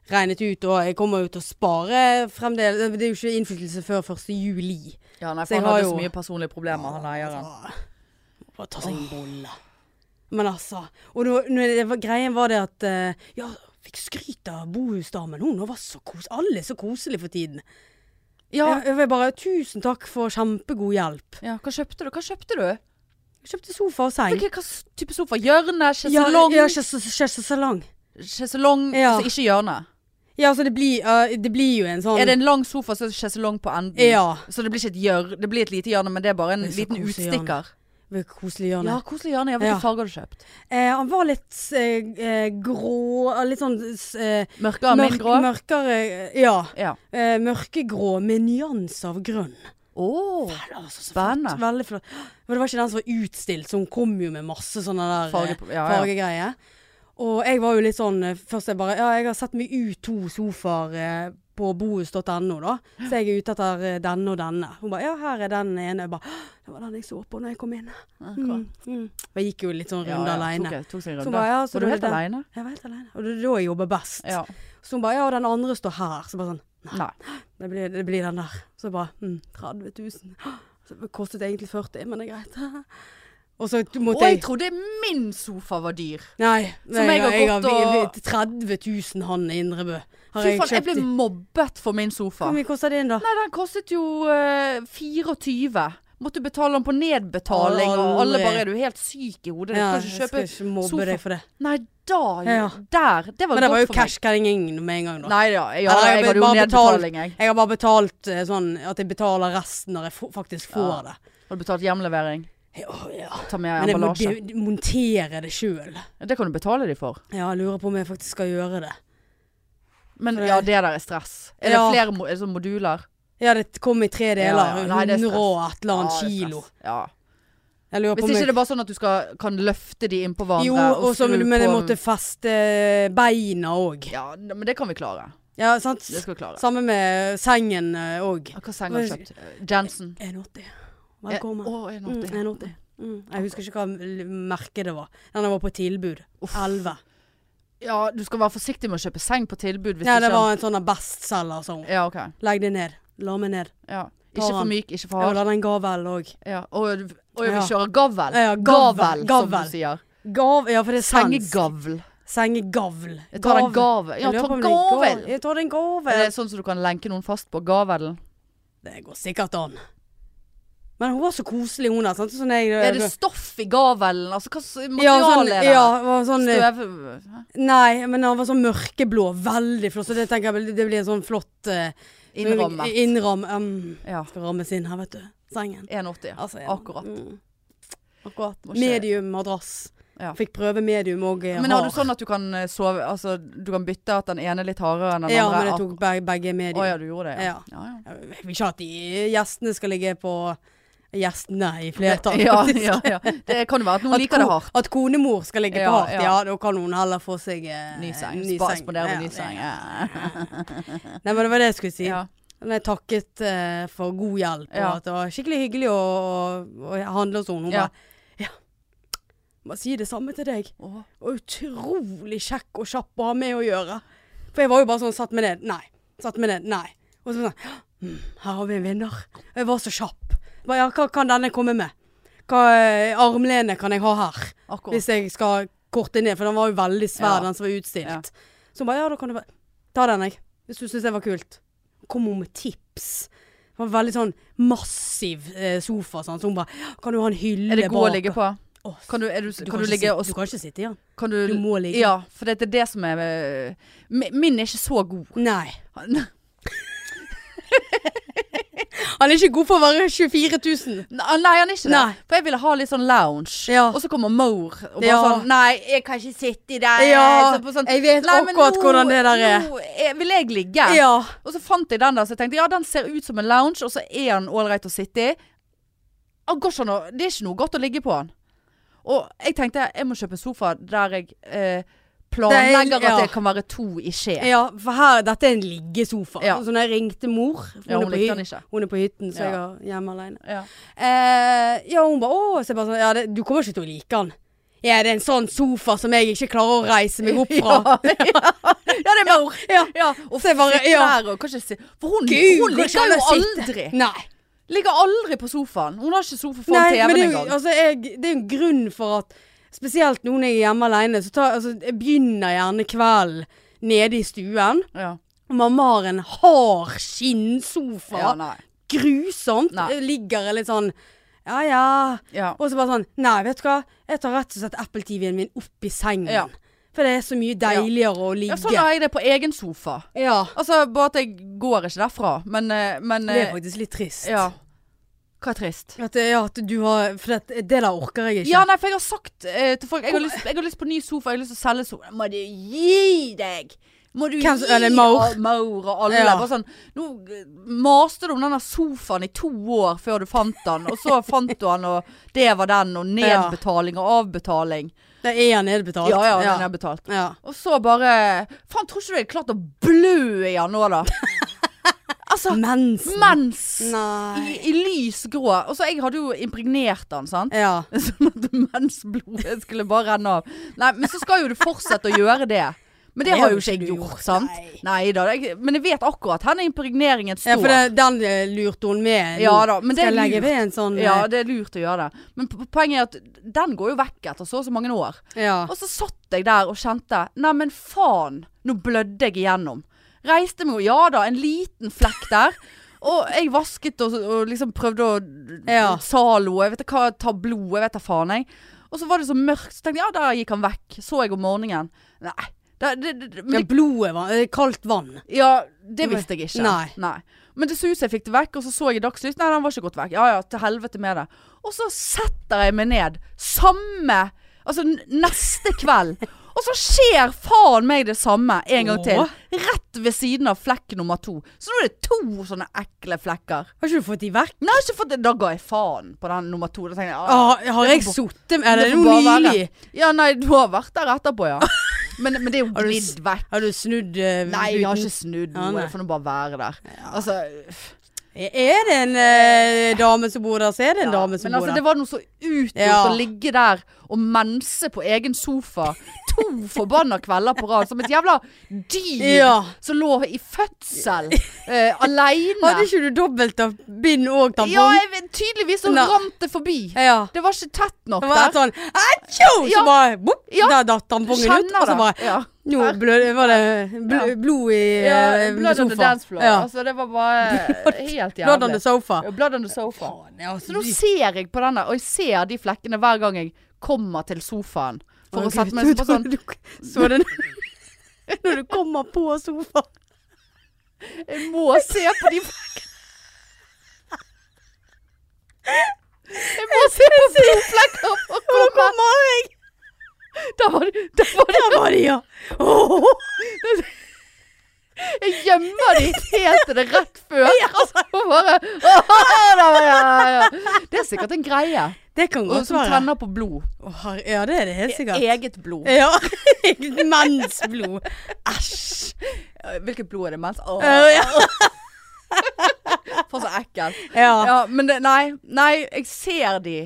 A: regnet ut, og jeg kommer jo til å spare fremdeles Det er jo ikke innflytelse før 1. juli.
B: Ja, nei,
A: Så
B: for
A: jeg
B: han
A: har
B: hadde
A: jo-
B: så mye personlige problemer, han eieren.
A: Må Bare ta seg en bolle. Men altså. Og nå, nå, er det, var- greien var det at eh, Ja, fikk skryt av bohusdamen. Hun var så kos, alle er så koselige for tiden.
B: Ja,
A: Jeg, jeg vil bare Tusen takk for kjempegod hjelp.
B: ja, hva kjøpte du? Hva kjøpte du?
A: Jeg kjøpte sofa og seng.
B: Hvilken hva s- type sofa? Hjørne?
A: Ja,
B: Sjeselong?
A: ja, ikke så- ikke så så lang.
B: Sjeselong,
A: Ja.
B: altså ikke hjørne.
A: Ja, altså det blir, eh, det blir jo en sånn
B: Er det en lang sofa, så er det sjeselong på enden.
A: Ja.
B: Så det blir ikke et hjørne, det blir et lite hjørne, men det er bare en
A: Det er så
B: liten
A: koselig
B: utstikker.
A: Ved koselig hjørne.
B: Ja, koselig hjørne. Ja, Hvilken
A: Ja.
B: farge har du kjøpt?
A: Eh, han var litt eh, eh, grå Litt sånn eh,
B: Mørkere?
A: mørk-
B: mindre?
A: mørkere Ja.
B: Ja.
A: Eh, mørkegrå med nyanser av grønn.
B: Åh,
A: Vel, altså, så
B: Spennende.
A: flott. Veldig flott. Men det var ikke den som var utstilt, så hun kom jo med masse sånne der
B: farge på,
A: eh,
B: ja, ja.
A: fargegreier. Og jeg var jo litt sånn eh, Først jeg bare Ja, jeg har sett meg ut to sofaer eh, på bohus.no, da. Så jeg er ute etter eh, denne og denne. Hun bare Ja, her er den ene. Jeg bare «Åh, Det var den jeg så på når jeg kom inn. Mm, mm. Jeg gikk jo litt sånn runde aleine.
B: Tok, tok seg en
A: Så
B: runde.
A: bare, ja, så
B: Var
A: da
B: du
A: er
B: helt
A: det-
B: aleine?
A: Jeg var helt alene. Og det er da jeg jobber best.
B: Ja.
A: Så hun bare Ja, den andre står her. Så bare sånn
B: Nei.
A: Det blir, det blir den der. Så bare mm, 30 000. Så det kostet egentlig 40, men det er greit. Og så
B: Og
A: måtte jeg
B: jeg trodde min sofa var dyr.
A: Nei.
B: Som jeg har gått
A: vi-
B: og-
A: vi- 30 000 han i Indrebø. Har
B: Fy
A: jeg
B: faen, jeg
A: kjøpt i.
B: ble mobbet for min sofa.
A: Hvor mye koster det inn, da?
B: Nei, den kostet jo eh, 24. Måtte betale den på nedbetaling, og alle
A: Aldri.
B: bare Er du helt syk i hodet?
A: Ja,
B: Ja,
A: jeg
B: du
A: skal
B: kan ikke kjøpe
A: ikke mobbe
B: sofa.
A: deg for det.
B: Nei, da
A: Ja.
B: Der. Det var
A: Men det var jo
B: godt for
A: cash carrying med en gang,
B: meg.
A: da.
B: Nei da, ja,
A: Eller, jeg
B: jeg hadde jo
A: bare betalt.
B: nedbetaling, jeg.
A: Jeg har bare betalt eh, sånn at jeg betaler resten når jeg få- faktisk
B: Ja.
A: får det.
B: Har du betalt hjemlevering?
A: Ja, ja.
B: Ta med
A: Men jeg må
B: emballasje.
A: de- montere det sjøl.
B: Ja, Det kan du betale de for.
A: Ja, jeg lurer på om jeg faktisk skal gjøre det.
B: Men
A: For det-
B: ja, det der er stress. Er det
A: Ja.
B: flere mo er det sånn moduler?
A: Ja, det kom i tre
B: Ja,
A: deler.
B: ja. Nei, det er
A: 100 og et eller
B: Ja,
A: annet
B: Ah, det er
A: kilo.
B: stress. Ja.
A: Jeg lurer
B: Hvis
A: på om
B: ikke
A: jeg
B: det er bare sånn at du skal, kan løfte de innpå hverandre
A: Jo, og så
B: skru
A: men jeg
B: på-
A: måtte feste beina òg.
B: Ja, ne- men det kan vi klare.
A: Ja, sant?
B: Det skal vi klare.
A: Samme med sengen eh, òg.
B: Hva seng har du kjøpt? Jansen.
A: 1,80.
B: Eh,
A: Velkommen.
B: Å, en
A: Mm,
B: åtti.
A: 1,80. Mm. Jeg husker ikke hva l- merket det var. Den var på tilbud.
B: Uff.
A: 11.
B: Ja, du skal være forsiktig med å kjøpe seng på tilbud hvis
A: Ja,
B: du
A: det
B: ikke
A: var en sånn bestselger som
B: Ja, ok.
A: Legg det ned. La meg ned.
B: Ja.
A: Tar
B: Ikke for
A: han.
B: myk, ikke for
A: Jeg vil
B: hard.
A: ha den gavelen òg.
B: Ja. Og, og vi
A: Ja.
B: kjører gavl.
A: Ja,
B: Gavel,
A: gavel.
B: som du
A: Gavel.
B: sier.
A: Gav, ja, for det er svensk.
B: Sengegavl.
A: Sengegavl.
B: Jeg tar en gave. Ja,
A: Jeg lurer
B: ta
A: på om det er
B: gavel.
A: gav- Jeg tar en
B: Er
A: gavel.
B: det sånn som du kan lenke noen fast på gavelen?
A: Det går sikkert an. Men hun var så koselig, hun der. sant? Sånn jeg,
B: Er det stoff i gavelen? Altså, hva slags
A: ja, sånn,
B: materiale
A: ja,
B: er det?
A: var sånn eh,
B: Støv...
A: Nei, men han var sånn mørkeblå. Veldig flott. Så det tenker jeg blir- det blir en sånn flott eh,
B: Innrammet.
A: innram- em,
B: Ja.
A: skal rammes inn her, vet du. Sengen.
B: 1,80.
A: Altså, ja.
B: Akkurat.
A: Mm. Akkurat.
B: Må ikke-
A: Medium madrass.
B: Ja.
A: Fikk prøve medium og eh,
B: Men har du
A: hard.
B: sånn at du kan eh, sove Altså, du kan bytte at den ene er litt hardere enn den
A: Ja, men jeg
B: andre?
A: tok be begge
B: Å
A: medium.
B: ja, du gjorde det? Ja, ja.
A: Jeg vil ikke at de gjestene skal ligge på Gjestene i flertall.
B: ja,
A: faktisk.
B: ja, ja. Det kan jo være at noen
A: At
B: liker det
A: ko-
B: hardt.
A: At konemor skal ligge
B: Ja,
A: på hardt,
B: ja.
A: ja. Da kan hun heller få seg eh,
B: Ny seng.
A: ny
B: Spa-
A: seng.
B: Spandere
A: Ja,
B: ny seng.
A: ja.
B: Ja.
A: Nei, men det var det jeg skulle si.
B: Ja.
A: Men jeg takket eh, for god hjelp, og
B: Ja.
A: at det var skikkelig hyggelig å, å, å handle hos henne. Hun
B: Ja.
A: bare Ja, må si det samme til deg.
B: Å,
A: Og utrolig kjekk og kjapp å ha med å gjøre. For jeg var jo bare sånn satt meg ned. Nei. Satt meg ned. Nei. Og så sånn «Hm, Her har vi en vinner. Og jeg var så kjapp. Bare, ja, hva kan denne komme med? Hva eh, armlene kan jeg ha her?
B: akkurat.
A: Hvis jeg skal korte ned, for den var jo veldig svær,
B: Ja.
A: den som var utstilt. Så hun bare ja, da kan du bare Ta den, jeg. Hvis du syns det var kult. Kom hun med tips. Det var en veldig sånn massiv eh, sofa, sånn. så hun bare «Ja, Kan du ha en hylle
B: Er det god å
A: bak?»
B: ligge på?
A: Å,
B: Kan du, er du,
A: du,
B: kan
A: kan
B: du
A: ikke
B: ligge
A: sitte-
B: og
A: du kan ikke sitte i den.
B: kan du,
A: Du må ligge.
B: Ja, for det er det som er eh, mi- Min er ikke så god.
A: Nei. Han er ikke god for å være 24 000.
B: Nei, ah, nei, han er ikke det.
A: Nei.
B: For jeg ville ha litt sånn lounge.
A: Ja.
B: Og så kommer Moore og bare
A: Ja.
B: sånn Nei, jeg kan ikke sitte i der.
A: Ja,
B: Så på sånn,
A: jeg vet
B: nei, men
A: akkurat
B: nå-
A: hvordan det der er.
B: Nå er- vil jeg ligge.
A: Ja.
B: Og så fant jeg den der, så jeg tenkte ja, den ser ut som en lounge, og så er den ålreit å sitte i. Han går ikke an å- det er ikke noe godt å ligge på den. Og jeg tenkte jeg må kjøpe en sofa der jeg eh, planlegger
A: Det er- ja.
B: at det kan være to i skje.
A: ja, for her, dette er en liggesofa.
B: Ja.
A: Så når jeg ringte mor for
B: Ja,
A: hun,
B: hun
A: er på hy-
B: likte den ikke.
A: hun er på hytten, så
B: Ja.
A: jeg er hjemme alene.
B: Ja.
A: Eh, ja, hun bare Å, så jeg bare sånn Ja, det, du kommer ikke til å like den. Ja, det er en sånn sofa som jeg ikke klarer å reise meg opp fra.
B: Ja, det er mor.
A: Ja.
B: Ja, og
A: Så jeg bare,
B: sitte
A: ja.
B: der og kanskje se For hun,
A: Gud,
B: hun
A: går ikke an
B: ligger jo
A: å sitte.
B: aldri.
A: Nei.
B: Ligger aldri på sofaen. Hun har ikke sofa foran
A: Nei, men
B: TV-en
A: det er jo
B: engang.
A: altså, jeg, det er jo en grunn for at Spesielt nå når jeg er hjemme alene, så tar, altså, jeg begynner gjerne kvelden nede i stuen.
B: Ja.
A: Og mamma har en hard skinnsofa.
B: ja, nei.
A: grusomt.
B: Nei.
A: Jeg Ligger litt sånn Ja ja.
B: Ja.
A: Og så bare sånn Nei, vet du hva. Jeg tar rett og slett Apple-TV-en min opp i sengen.
B: Ja.
A: For det er så mye deiligere å
B: ja,
A: ligge.
B: sånn har jeg det på egen sofa.
A: Ja.
B: Altså, bare at jeg går ikke derfra. Men, eh, men
A: Det er
B: eh,
A: faktisk litt trist.
B: Ja. Hva er trist?
A: At, eh, ja, at du har For det, det der orker jeg ikke.
B: Ja, nei, for jeg har sagt eh, til folk jeg har, lyst, jeg har lyst på ny sofa, jeg har lyst til å selge sofa. Må du gi deg! Må du
A: Hvem som- er det
B: gi
A: Maur?
B: og Maur og alle.
A: Ja.
B: Bare sånn, nå eh, maste du om denne sofaen i to år før du fant den, og så fant du den, og det var den, og nedbetaling og avbetaling.
A: Det er nedbetalt.
B: Ja, ja, den
A: ja.
B: er betalt.
A: ja.
B: Og så bare Faen, tror ikke du jeg hadde klart å blø i den nå, da? altså,
A: Mensen.
B: mens i,
A: Nei.
B: i lys grå. Og så jeg hadde jo impregnert den, sant.
A: Ja.
B: Sånn at mens blodet skulle bare renne av. Nei, men så skal jo du fortsette å gjøre det. Men det, har jo ikke jeg gjort, sant?
A: nei.
B: Nei da. jeg- Men jeg vet akkurat hvor impregneringen står.
A: ja, for det, den eh, lurte hun med. nå.
B: Ja da, men det
A: Skal jeg
B: er
A: legge
B: lurt.
A: ved en sånn eh,
B: Ja, det er lurt å gjøre det. Men po- poenget er at den går jo vekk etter så og så mange år.
A: ja.
B: Og så satt jeg der og kjente Nei, men faen, nå blødde jeg igjennom. Reiste meg jo, ja da, en liten flekk der. Og jeg vasket og, og liksom prøvde å
A: Ja.
B: Zalo, jeg vet ikke hva, ta blod, jeg vet da faen jeg. Og så var det så mørkt, så tenkte jeg, ja, der gikk han vekk. Så jeg om morgenen. Nei, det, det, det, men
A: ja,
B: det,
A: blodet var eh, Kaldt vann.
B: ja, det visste jeg ikke.
A: Nei.
B: Men det så ut som jeg fikk det vekk, og så så jeg i dagslys, nei, den var ikke gått vekk. Ja, ja, til helvete med det. Og så setter jeg meg ned, samme, altså n- neste kveld. Og så skjer faen meg det samme en gang til.
A: Åh.
B: Rett ved siden av flekk nummer to. Så nå er det to sånne ekle flekker.
A: Har ikke du fått de vekk?
B: Nei, jeg har ikke fått det. Da ga jeg faen på den nummer to. Da tenkte jeg, ah,
A: Ah, har jeg
B: får
A: sittet med Er det
B: får
A: noe
B: bare være.
A: nylig?
B: Ja, nei, du har vært der etterpå, ja. Men, men det er jo
A: Har du s-
B: glidd vekk.
A: Har du snudd eh,
B: Nei, jeg har
A: uten-
B: ikke
A: Ja,
B: snudd noe.
A: nei.
B: Jeg får nå bare være der. Altså, uff.
A: Er det en eh, dame som bor der, så er det en
B: ja.
A: dame som
B: Men
A: bor
B: altså, det
A: der.
B: var noe så utgjort
A: Ja.
B: å ligge der og mense på egen sofa to forbanna kvelder på rad som et jævla dyr
A: Ja.
B: som lå i fødsel eh, aleine.
A: Hadde ikke du dobbelt av bind og tampong?
B: Ja, jeg, vet- tydeligvis så
A: Nei.
B: rant det forbi.
A: ja.
B: Det var ikke tett nok
A: Det var
B: der.
A: sånn Atjo! Så
B: Ja.
A: bare bopp,
B: Ja.
A: der datt tampongen ut. Og så bare
B: Ja.
A: Nå blød, var det bl
B: Ja.
A: blod i
B: Ja,
A: eh,
B: blood on the
A: sofa.
B: dance floor. Altså, det var bare helt
A: Blood on the
B: jævlig.
A: sofa.
B: Ja, Blood on the sofa.
A: Faen, ja,
B: Så
A: altså,
B: nå
A: du-
B: ser jeg på den der, og jeg ser de flekkene hver gang jeg kommer til sofaen. For
A: Å,
B: å sette
A: Gud,
B: meg
A: du-
B: på sånn
A: du- du- Så det når du kommer på sofaen.
B: Jeg må se på de flekkene. Jeg må se på blodflekker for å
A: Nå
B: komme
A: kommer jeg!
B: Da var det, da var det
A: Der var de, ja! Åh,
B: Jeg gjemmer de helt til det er rett før. Og bare «Åh, da var jeg- ja. Det er sikkert en greie.
A: det kan
B: Og
A: godt
B: som
A: være.
B: tenner på blod.
A: Å, herre- ja, det er det helt sikkert.
B: Eget blod.
A: Ja. Mensblod. Æsj.
B: Eh, Hvilket blod er det mens? Åh,
A: Øh, ja.
B: for så ekkelt.
A: ja.
B: Ja, men det, nei, nei, jeg ser de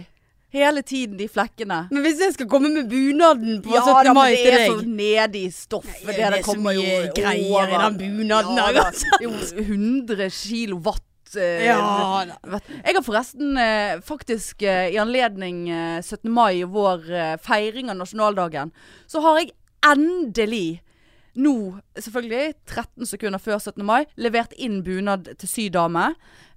B: hele tiden, de flekkene.
A: Men hvis jeg skal komme med bunaden på 17.
B: da,
A: mai
B: men det
A: til
B: er så
A: deg
B: nedig stoff. Det,
A: det er
B: det
A: så
B: kommer jo
A: mye greier i
B: over.
A: den bunaden
B: Ja,
A: her,
B: da.
A: altså.
B: Jo, 100 kilowatt. eh,
A: Ja, da.
B: Vet- Jeg har forresten eh, faktisk eh, i anledning eh, 17. mai, vår eh, feiring av nasjonaldagen, så har jeg endelig nå, selvfølgelig 13 sekunder før 17. mai, levert inn bunad til sydame.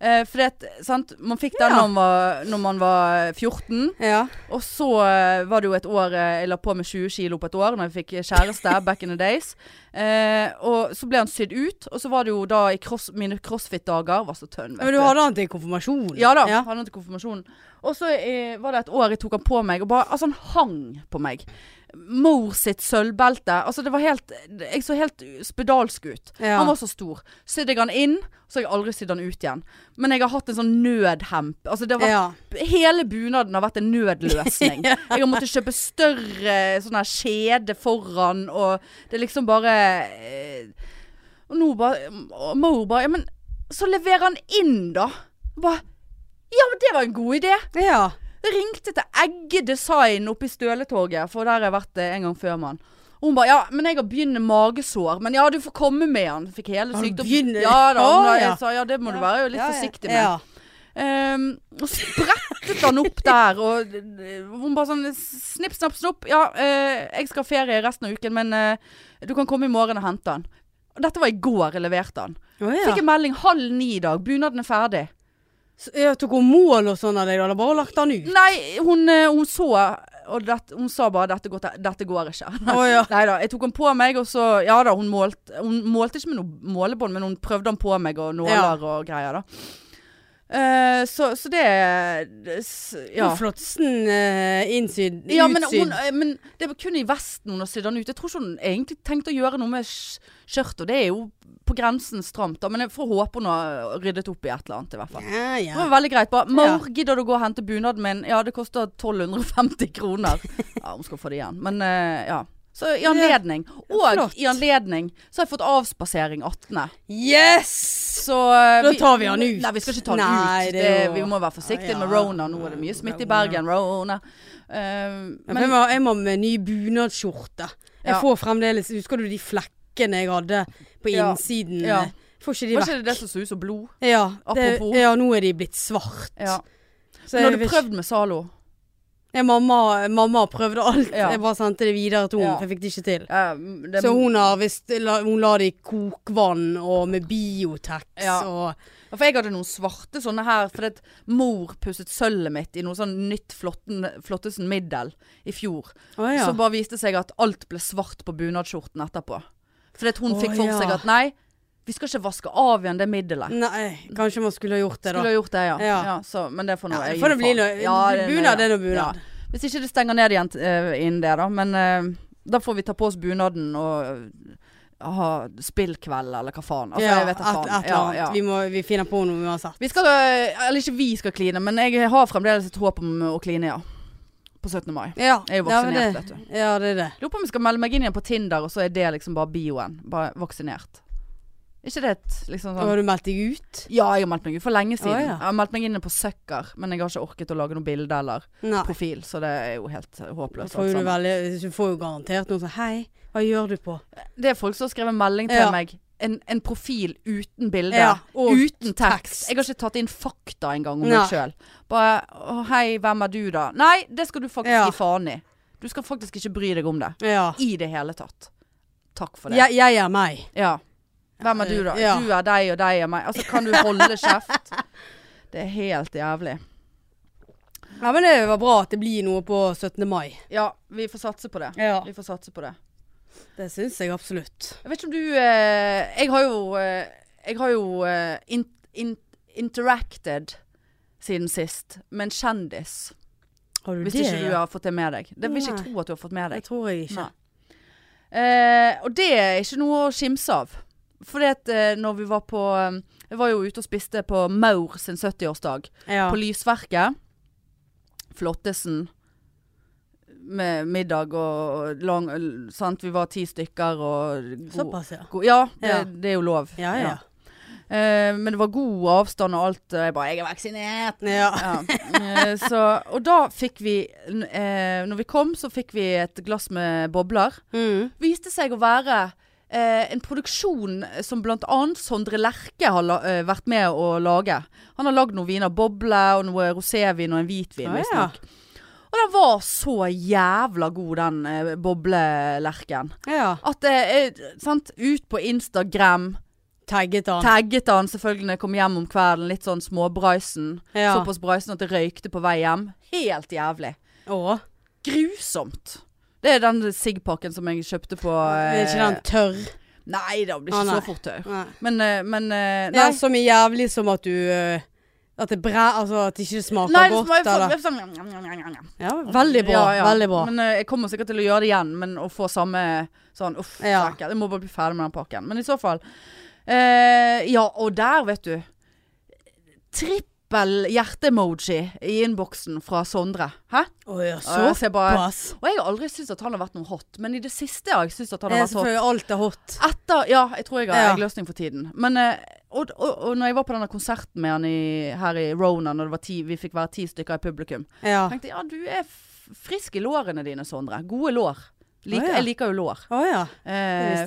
B: Eh, for det, sant, man fikk den
A: Ja.
B: når, man var, når man var 14.
A: Ja.
B: Og så eh, var det jo et år eh, jeg la på med 20 kilo på et år Når jeg fikk kjæreste back in the days eh, Og så ble han sydd ut Og så var det jo da i cross, mine crossfit-dager Var så tønn, vet
A: Men du hadde han til konfirmasjon?
B: Ja da, hadde han til konfirmasjonen Og så eh, var det et år jeg tok han på meg Og bare, altså han hang på meg Mor sitt sølvbelte Altså det var helt, jeg så helt spedalsk ut
A: Ja.
B: Han var så stor Sydde jeg han inn, så har jeg aldri sydd han ut igjen Men jeg har hatt en sånn nødhemp Altså det var
A: Ja.
B: Hele bunaden har vært en nødløsning. Jeg har måttet kjøpe større sånn her skjede foran, og det er liksom bare eh, Og nå bare og Mor bare Ja, men så leverer han inn, da. Bare Ja, men det var en god idé.
A: ja.
B: Jeg ringte til Egge Design oppe i Støletorget, for der har jeg vært eh, en gang før med han. Og hun bare 'ja, men jeg har begynt med magesår', men 'ja, du får komme med han'. Fikk hele
A: Har du
B: sykdom...
A: begynt-
B: Ja da. Hun,
A: Å,
B: da,
A: ja.
B: Jeg sa 'ja, det må du være litt
A: Ja, ja.
B: forsiktig med'.
A: Ja.
B: Ehm, og så brettet han opp der, og eh, hun bare sånn Snipp, snapp, snopp. Ja, eh, jeg skal ha ferie resten av uken, men eh, du kan komme i morgen og hente han. Og Dette var i går jeg leverte han.
A: Å, ja.
B: Fikk en melding halv ni i dag. Bunaden er ferdig.
A: Så, ja, tok hun mål og sånn av deg, da? Eller bare lagt han ut?
B: Nei, hun, eh, hun så Og det, hun sa bare 'dette går, te- dette går ikke'.
A: Å ja.
B: Nei da. Jeg tok han på meg, og så Ja da, hun målte Hun målte ikke med noe målebånd, men hun prøvde han på meg og nåler og greier, da. Eh, så, så det s-
A: ja.
B: Ja.
A: Flotsen uh, innsydd,
B: Ja, men,
A: utsydd.
B: hun, eh, men det var kun i vesten hun har sydd den ut. Jeg tror ikke hun egentlig tenkte å gjøre noe med skj- skjørtet. og Det er jo på grensen stramt, da. Men jeg får håpe hun har ryddet opp i et eller annet, i hvert fall.
A: ja,
B: Det
A: ja.
B: var veldig greit. Bare 'Mor, gidder du gå og hente bunaden min?' Ja, det koster 1250 kroner. Ja, hun skal få det igjen. Men eh, ja. Så i anledning. Og
A: flott.
B: i anledning så har jeg fått avspasering 18.
A: Yes!
B: Så eh,
A: Da tar vi han ut.
B: Nei, vi skal ikke ta han
A: Nei,
B: ut.
A: det
B: Det,
A: er jo-
B: vi må være forsiktige
A: Ja,
B: med
A: ja.
B: Rona. Nå er det mye smitte i
A: Rona.
B: Bergen. Rona. Eh,
A: Ja, for jeg, må, jeg må med ny bunadsskjorte. Jeg
B: Ja.
A: får fremdeles Husker du de flekkene jeg hadde på
B: Ja.
A: innsiden?
B: Ja.
A: Får ikke de
B: Var
A: vekk.
B: ikke det det som så ut som blod?
A: Ja, det,
B: Apropos.
A: ja, nå er de blitt svart.
B: Ja.
A: Så
B: Men har
A: jeg,
B: du
A: vet
B: prøvd med Zalo?
A: ikke- ja, mamma, mamma prøvde alt.
B: Ja.
A: Jeg bare sendte det videre til henne,
B: Ja.
A: for jeg fikk det ikke til.
B: Ja, det,
A: Så hun har visst la, Hun la det i kokvann og med Biotex
B: Ja.
A: og
B: For jeg hadde noen svarte sånne her, fordi at mor pusset sølvet mitt i noe sånn nytt flotten, Flottesen middel i fjor.
A: Å ja.
B: Så bare viste det seg at alt ble svart på bunadsskjorten etterpå. Fordi at hun
A: Å,
B: fikk for
A: ja.
B: seg at nei, vi skal ikke vaske av igjen det middelet.
A: Nei, kanskje man skulle ha gjort det, da.
B: Skulle ha gjort det, ja.
A: Ja.
B: ja så, men det får nå
A: Ja, det
B: jeg
A: får
B: gi
A: det bli
B: faen.
A: noe-
B: Ja, det-
A: bunad
B: ja.
A: er noe bunad.
B: Ja. Hvis ikke det stenger ned igjen eh, innen det, da. Men eh, da får vi ta på oss bunaden og eh, ha spillkveld, eller hva faen. Altså,
A: ja,
B: jeg vet da
A: et,
B: faen.
A: et eller
B: Ja,
A: annet.
B: ja.
A: Vi, må, vi finner på noe uansett.
B: Vi skal, eh, eller ikke vi skal kline, men jeg har fremdeles et håp om å kline, ja. På 17. mai.
A: Ja,
B: Jeg er jo
A: ja, men
B: vaksinert,
A: det,
B: vet du.
A: Ja, det er det.
B: Lurer på om jeg skal melde meg inn igjen på Tinder, og så er det liksom bare bioen. Bare vaksinert. Ikke det et liksom sånn
A: Har du meldt deg ut?
B: Ja, jeg har meldt meg ut for lenge siden.
A: Å, ja.
B: Jeg har meldt meg inn på Sucker, men jeg har ikke orket å lage noe bilde eller
A: Nei.
B: profil, så det er jo helt eh,
A: Da
B: håpløst.
A: Får
B: alt
A: jo du,
B: sammen.
A: veldig, du får jo garantert noen sånn Hei, hva gjør du på?
B: Det er folk som har skrevet melding til
A: Ja.
B: meg. En, en profil uten bilde.
A: Ja, og
B: uten tekst.
A: tekst.
B: Jeg har ikke tatt inn fakta engang om
A: Nei.
B: meg sjøl. Bare å, 'Hei, hvem er du, da?' Nei, det skal du faktisk
A: Ja.
B: gi faen i. Du skal faktisk ikke bry deg om det.
A: Ja.
B: I det hele tatt. Takk for det.
A: Jeg, jeg er meg.
B: Ja. Hvem er du, da?
A: Ja.
B: Du er deg, og deg er meg. Altså, kan du holde kjeft? Det er helt jævlig.
A: Ja, men det var bra at det blir noe på 17. mai.
B: Ja, vi får satse på det.
A: Ja.
B: Vi får satse på det.
A: Det syns jeg absolutt.
B: Jeg vet ikke om du eh, Jeg har jo, eh, jeg har jo eh, in, in, interacted siden sist med en kjendis.
A: Har du
B: Hvis
A: det?
B: ikke du
A: ja?
B: har fått det med deg. Det vil ikke
A: Nei.
B: jeg tro at du har fått med
A: Det
B: deg.
A: tror jeg ikke.
B: Nei. Eh, og det er ikke noe å skimse av. For det at eh, når vi var på eh, Jeg var jo ute og spiste på Maur sin 70-årsdag.
A: Ja.
B: På Lysverket. Flottesen. Med middag og lang Sant, vi var ti stykker og god,
A: Såpass, ja.
B: god Ja, det,
A: Ja.
B: det er jo lov.
A: Ja, ja.
B: Eh, men det var god avstand og alt. Og jeg bare 'Jeg er vaksinert'.
A: Ja.
B: Ja. Eh, så, og da fikk vi n- eh, Når vi kom, så fikk vi et glass med bobler.
A: Mm.
B: Viste seg å være eh, en produksjon som bl.a. Sondre Lerche har la, eh, vært med å lage. Han har lagd noen viner. Boble og noe rosévin og en hvitvin,
A: Ah, ja.
B: visstnok. Og den var så jævla god, den eh, boblelerken.
A: ja.
B: At eh, eh, sant, ut på Instagram
A: Tagget han.
B: Tagget han selvfølgelig når jeg kom hjem om kvelden. Litt sånn småbraisen.
A: Ja.
B: Såpass braisen at det røykte på vei hjem. Helt jævlig.
A: Å.
B: Grusomt. Det er den sigpakken som jeg kjøpte på
A: Er
B: eh,
A: ikke den tørr?
B: Nei, det blir
A: Å,
B: ikke
A: nei.
B: så fort tørr.
A: Nei.
B: Men, eh, men eh, Nei.
A: Ja, som er jævlig som at du eh, At det bræ... Altså at det ikke smaker
B: Nei, det
A: godt,
B: smaker-
A: eller
B: sånn, njam, njam, njam, njam, njam.
A: Ja, veldig bra.
B: Ja, ja.
A: Veldig bra.
B: Men eh, jeg kommer sikkert til å gjøre det igjen, men å få samme sånn uff, så
A: Ja.
B: ekkelt. Jeg må bare bli ferdig med den pakken. Men i så fall eh, Ja, og der, vet du. Trippel hjerte-emoji i innboksen fra Sondre. Hæ?
A: Å ja,
B: Og jeg ser bare,
A: såpass.
B: og jeg har aldri syntes at han har vært noe hot, men i det siste har jeg syntes at han
A: Det
B: har
A: er
B: vært hot.
A: selvfølgelig alt er hot.
B: Etter, ja, jeg tror jeg har
A: Ja.
B: eggløsning for tiden. Men, eh, og, og, og når jeg var på denne konserten med han i, her i Rona, når det var ti, vi fikk være ti stykker i publikum,
A: Ja.
B: tenkte jeg ja, du er f- frisk i lårene dine, Sondre. Gode lår. Lik,
A: Å, ja.
B: Jeg liker jo lår.
A: Å ja.
B: Eh,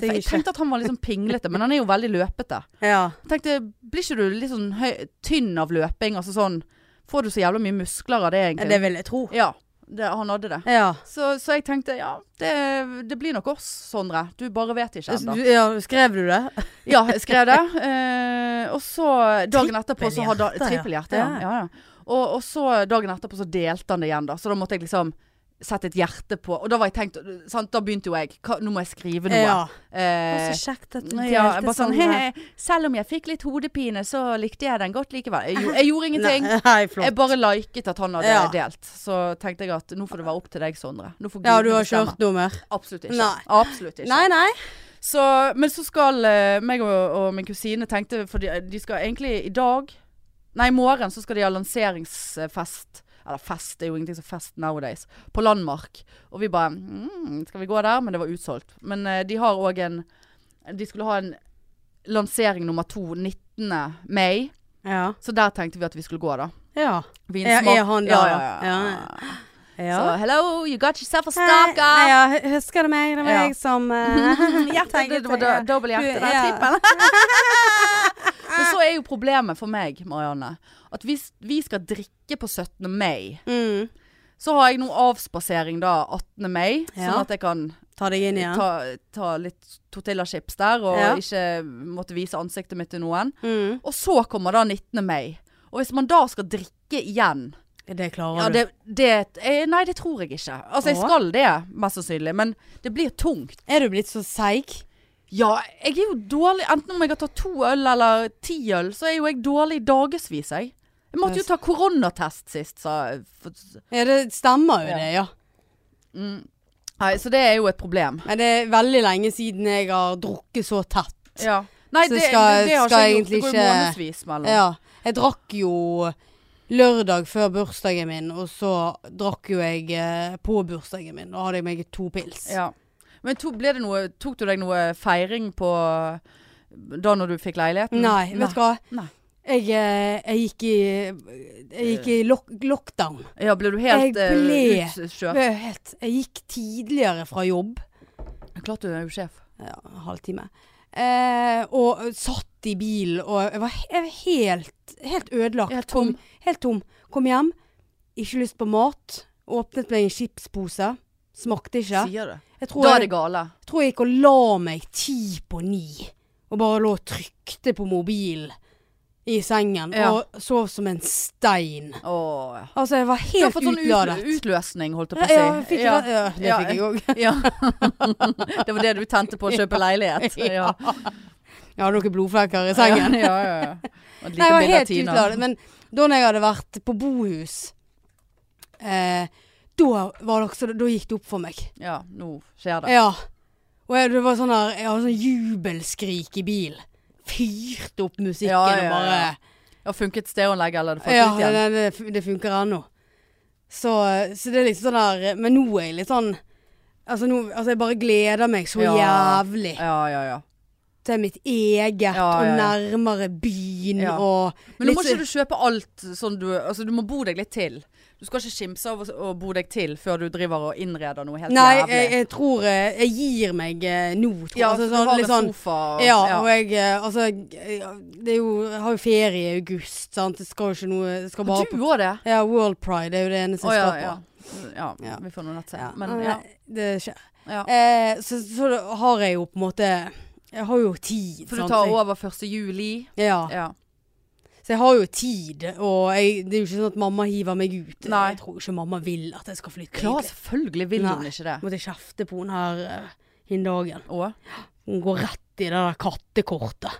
A: visste jeg
B: for jeg
A: ikke.
B: tenkte at han var litt sånn pinglete, men han er jo veldig løpete.
A: Ja.
B: Jeg tenkte, blir ikke du litt sånn høy, tynn av løping? Altså sånn, får du så jævla mye muskler av det
A: Ja,
B: egentlig?
A: Det vil jeg tro.
B: Ja, det, han hadde det.
A: Ja.
B: Så, så jeg tenkte, ja, det, det blir nok oss, Sondre. Du bare vet ikke enda.
A: Du- ja. Skrev du det?
B: Ja, jeg skrev det. Eh, og så dagen etterpå så hadde
A: Trippelhjerte, ja.
B: Trippelhjerte, ja. ja, ja. Og, og så dagen etterpå så delte han det igjen, da. Så da måtte jeg liksom sette et hjerte på. Og da var jeg tenkt sant, Da begynte jo jeg. Hva, nå må jeg skrive noe.
A: Ja. Å,
B: Eh,
A: Så kjekt at du
B: ja, jeg
A: delte
B: bare sånn,
A: sånn.
B: «Hehe, Selv om jeg fikk litt hodepine, så likte jeg den godt likevel. Jeg, gjo- jeg gjorde ingenting.
A: Nei, nei, flott.
B: Jeg bare liket at han hadde
A: Ja.
B: delt. Så tenkte jeg at nå får det være opp til deg, Sondre. Nå får
A: Ja,
B: gudene
A: du har ikke
B: bestemme.
A: hørt noe mer?
B: Absolutt ikke.
A: Nei.
B: Absolutt ikke.
A: Nei, nei.
B: Så, men så skal eh, meg og, og min kusine tenkte For de, de skal egentlig i dag Nei, i morgen så skal de ha lanseringsfest Eller fest, det er jo ingenting som fest nowadays På Landmark Og vi bare, mm, skal vi gå der? Men det var utsolgt Men eh, de har også en De skulle ha en lansering nummer 2 19. mai
A: Ja.
B: Så der tenkte vi at vi skulle gå da
A: Ja.
B: Vinsmak-
A: Er- er han der,
B: Ja,
A: da?
B: ja, ja,
A: ja.
B: Så, hello, you got yourself a
A: Hei,
B: stalker
A: hei, ja, hu- husker du meg? Det var
B: Ja.
A: jeg som eh,
B: Hjertet, det,
A: tenkte-
B: det var do- dobbel hjerte, da.
A: Ja.
B: Trippel. Men så er jo problemet for meg, Marianne, at hvis vi skal drikke på 17. mai,
A: Mm.
B: så har jeg nå avspasering da 18. mai, sånn
A: Ja.
B: at jeg kan
A: Ta deg inn igjen.
B: ta, ta litt tortillachips der, og
A: Ja.
B: ikke måtte vise ansiktet mitt til noen.
A: Mm.
B: Og så kommer da 19. mai. Og hvis man da skal drikke igjen
A: Det klarer
B: ja, det, det, eh, Nei, det tror jeg ikke. Altså, jeg
A: Å?
B: skal det, mest sannsynlig, men det blir tungt.
A: du. Er du blitt så seig?
B: Ja, jeg er jo dårlig Enten om jeg har tatt to øl eller ti øl Så er jo jeg dårlig dagesvis jeg. jeg måtte jo ta koronatest sist sa, for,
A: Ja, det stemmer jo
B: Ja.
A: det, ja.
B: Nei, så det er jo et problem
A: Men det er veldig lenge siden jeg har drukket så tett.
B: Nei,
A: Så
B: det,
A: skal-
B: det, det har
A: skal
B: ikke jeg gjort
A: egentlig
B: Det går jo
A: ikke-
B: månedsvis mellom
A: Ja. Jeg drakk jo lørdag før bursdagen min, og så drakk jo jeg eh, på bursdagen min. Da hadde jeg meg to pils.
B: Ja. Men to, ble det noe, tok du deg noe feiring på Da når du fikk leiligheten?
A: Nei, vet du hva?
B: Mm. Nei.
A: Jeg, eh, jeg gikk i, jeg gikk i lock, lockdown.
B: Ja, ble du
A: Jeg
B: helt
A: ble-
B: eh,
A: Det
B: utkjørt?
A: var helt- Jeg gikk tidligere fra jobb,
B: Klart du er jo sjef
A: ja, en halvtime, eh, og satt i bil, og jeg var, he- jeg var helt, helt ødelagt.
B: Helt tom.
A: Kom, helt tom. Kom hjem, ikke lyst på mat, åpnet meg en chipspose, smakte ikke.
B: Sier du
A: Jeg tror
B: Da er
A: jeg,
B: det gale
A: jeg tror jeg gikk og la meg ti på ni, og bare lå og trykte på mobilen i sengen,
B: Ja.
A: og sov som en stein.
B: Åh, ja.
A: Altså, jeg var
B: Du har
A: helt
B: fått sånn
A: utladet.
B: ut, utløsning holdt jeg på å si
A: Ja, jeg fikk
B: Ja.
A: det. Ja, det
B: Ja,
A: fikk jeg òg.
B: Ja. det var det du tente på å kjøpe leilighet. Ja.
A: Jeg hadde noen blodflekker i sengen.
B: Ja, ja, ja. Og et lite
A: Nei, jeg var
B: bilde av
A: helt
B: Tina.
A: utladet. Men da når jeg hadde vært på bohus eh, Da, var det, også- da gikk det opp for meg.
B: Ja, nå skjer det.
A: Ja. Og jeg, det var sånn der, jeg hadde sånn jubelskrik i bil. Fyrte opp musikken
B: Ja, ja, ja.
A: og bare
B: Ja, funket stereoanlegget, eller er det falt
A: Ja,
B: ut igjen?
A: det, det, det funker ennå. Så, så det er liksom sånn der Men nå er jeg litt sånn Altså, nå, altså jeg bare gleder meg så
B: Ja.
A: jævlig
B: Ja, ja, ja.
A: til mitt eget
B: Ja, ja, ja.
A: og nærmere byen
B: Ja.
A: og
B: Men nå
A: litt
B: må
A: så-
B: ikke du kjøpe alt sånn du Altså, du må bo deg litt til. Du skal ikke skimse av å, å bo deg til før du driver og innreder noe helt
A: Nei,
B: jævlig.
A: jeg, jeg tror eh, Jeg gir meg eh, nå, tror jeg.
B: ja,
A: altså,
B: du har
A: sånn,
B: en
A: litt sånn
B: sofa og
A: Ja, og jeg eh, Altså, jeg, det er jo Jeg har jo ferie i august, sant. Jeg skal jo ikke noe Jeg skal bare
B: Du òg det?
A: Ja, World Pride er jo det eneste
B: Å
A: jeg
B: ja,
A: skal på.
B: ja. ja.
A: Ja.
B: Vi får nå nett se.
A: Ja,
B: Men
A: nei,
B: ja.
A: Det skjer.
B: ja.
A: Eh, så, så har jeg jo på en måte Jeg har jo tid.
B: For du
A: sant?
B: tar
A: Jeg-
B: over 1. juli.
A: Ja.
B: Sånn Ja.
A: Så jeg har jo tid, og jeg, det er jo ikke sånn at mamma hiver meg ut.
B: Nei.
A: Jeg tror ikke mamma vil at jeg skal flytte.
B: Klar,
A: egentlig.
B: selvfølgelig vil hun
A: Nei.
B: ikke det.
A: Måtte kjefte på henne her eh, hin dagen.
B: Å?
A: Hun går rett i det der kattekortet.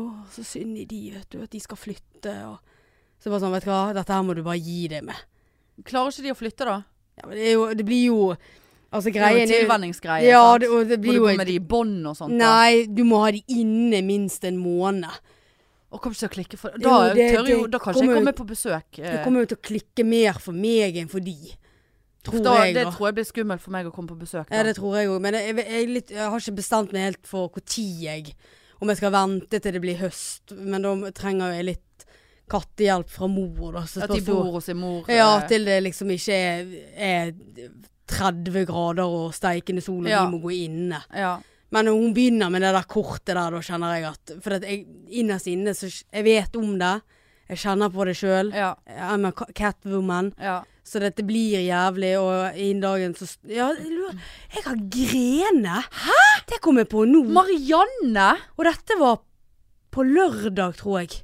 A: Å, så synd i de, vet du, at de skal flytte og Så bare sånn, vet du hva, dette her må du bare gi deg med.
B: Klarer ikke de å flytte, da?
A: Ja, men det, er jo, det blir jo Altså,
B: Det er jo
A: greien
B: en
A: er jo
B: tilvenningsgreie.
A: Ja,
B: sant?
A: det, og det
B: Må
A: blir
B: du
A: jo
B: gå med de i bånd og sånt? da?
A: Nei, du må ha de inne minst en måned.
B: Og kommer ikke til å klikke for Da,
A: Jo, det-
B: tør jo,
A: det
B: da kan ikke jeg
A: kommer-
B: komme på besøk. eh,
A: Det kommer jo til å klikke mer for meg enn for de. Tror
B: da,
A: jeg,
B: det
A: da.
B: tror jeg blir skummelt for meg å komme på besøk. Da.
A: Ja, det tror jeg òg. Men jeg, jeg, jeg, er litt, jeg har ikke bestemt meg helt for når jeg Om jeg skal vente til det blir høst. Men da trenger jeg litt kattehjelp fra mor, da. så
B: at de
A: spørs
B: bor
A: hvor-
B: hos sin mor.
A: Ja,
B: eh,
A: til det liksom ikke er, er 30 grader og steikende sol, og
B: Ja.
A: vi må gå inne.
B: ja.
A: Men når hun begynner med det der kortet der, da kjenner jeg at For at jeg innerst inne, så Jeg vet om det. Jeg kjenner på det sjøl.
B: ja,
A: I'm a ca- catwoman.
B: ja.
A: Så dette blir jævlig, og innen dagen så st- Ja, jeg lurer Jeg har grene! Hæ?! Det kom jeg på nå.
B: Marianne!
A: og dette var på lørdag, tror jeg.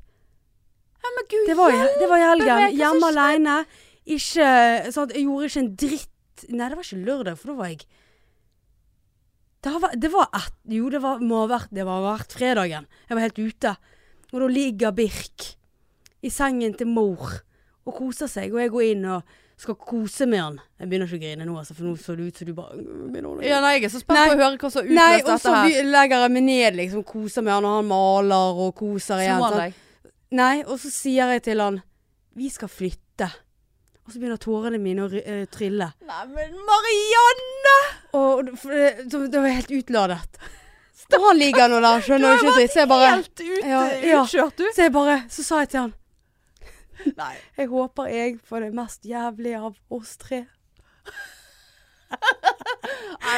B: Ja, men gud,
A: Det var, i- det var i
B: meg, hva
A: helgen.
B: som
A: Hjemme
B: skjedde?
A: aleine. Ikke sant, Jeg gjorde ikke en dritt Nei, det var ikke lørdag, for da var jeg det har vært- det var et, Jo, det var, må ha vært Det var vært fredagen. Jeg var helt ute. Og da ligger Birk i sengen til mor og koser seg, og jeg går inn og skal kose med han. Jeg begynner ikke å grine nå, altså, for nå så det ut som du bare «Øh, begynner å
B: ja,
A: grine.
B: Nei, jeg er så spent
A: Nei.
B: på å høre hva som utløste
A: Nei, og
B: dette
A: så
B: her.
A: be- legger jeg meg ned, liksom, koser med han, og han maler og koser igjen.
B: Slå
A: sant?
B: deg.
A: Nei, og så sier jeg til han Vi skal flytte Og så begynner tårene mine å ry- eh, trille
B: Nei, men Marianne!
A: Og for det, så det var helt utladet Og han ligger nå der,
B: Du
A: skjønner
B: har
A: jo ikke dritt Så jeg bare,
B: Helt ute,
A: Ja, ja.
B: utkjørt, du.
A: så jeg bare, så sa jeg til han
B: Nei.
A: Jeg håper jeg får det mest jævlige av oss tre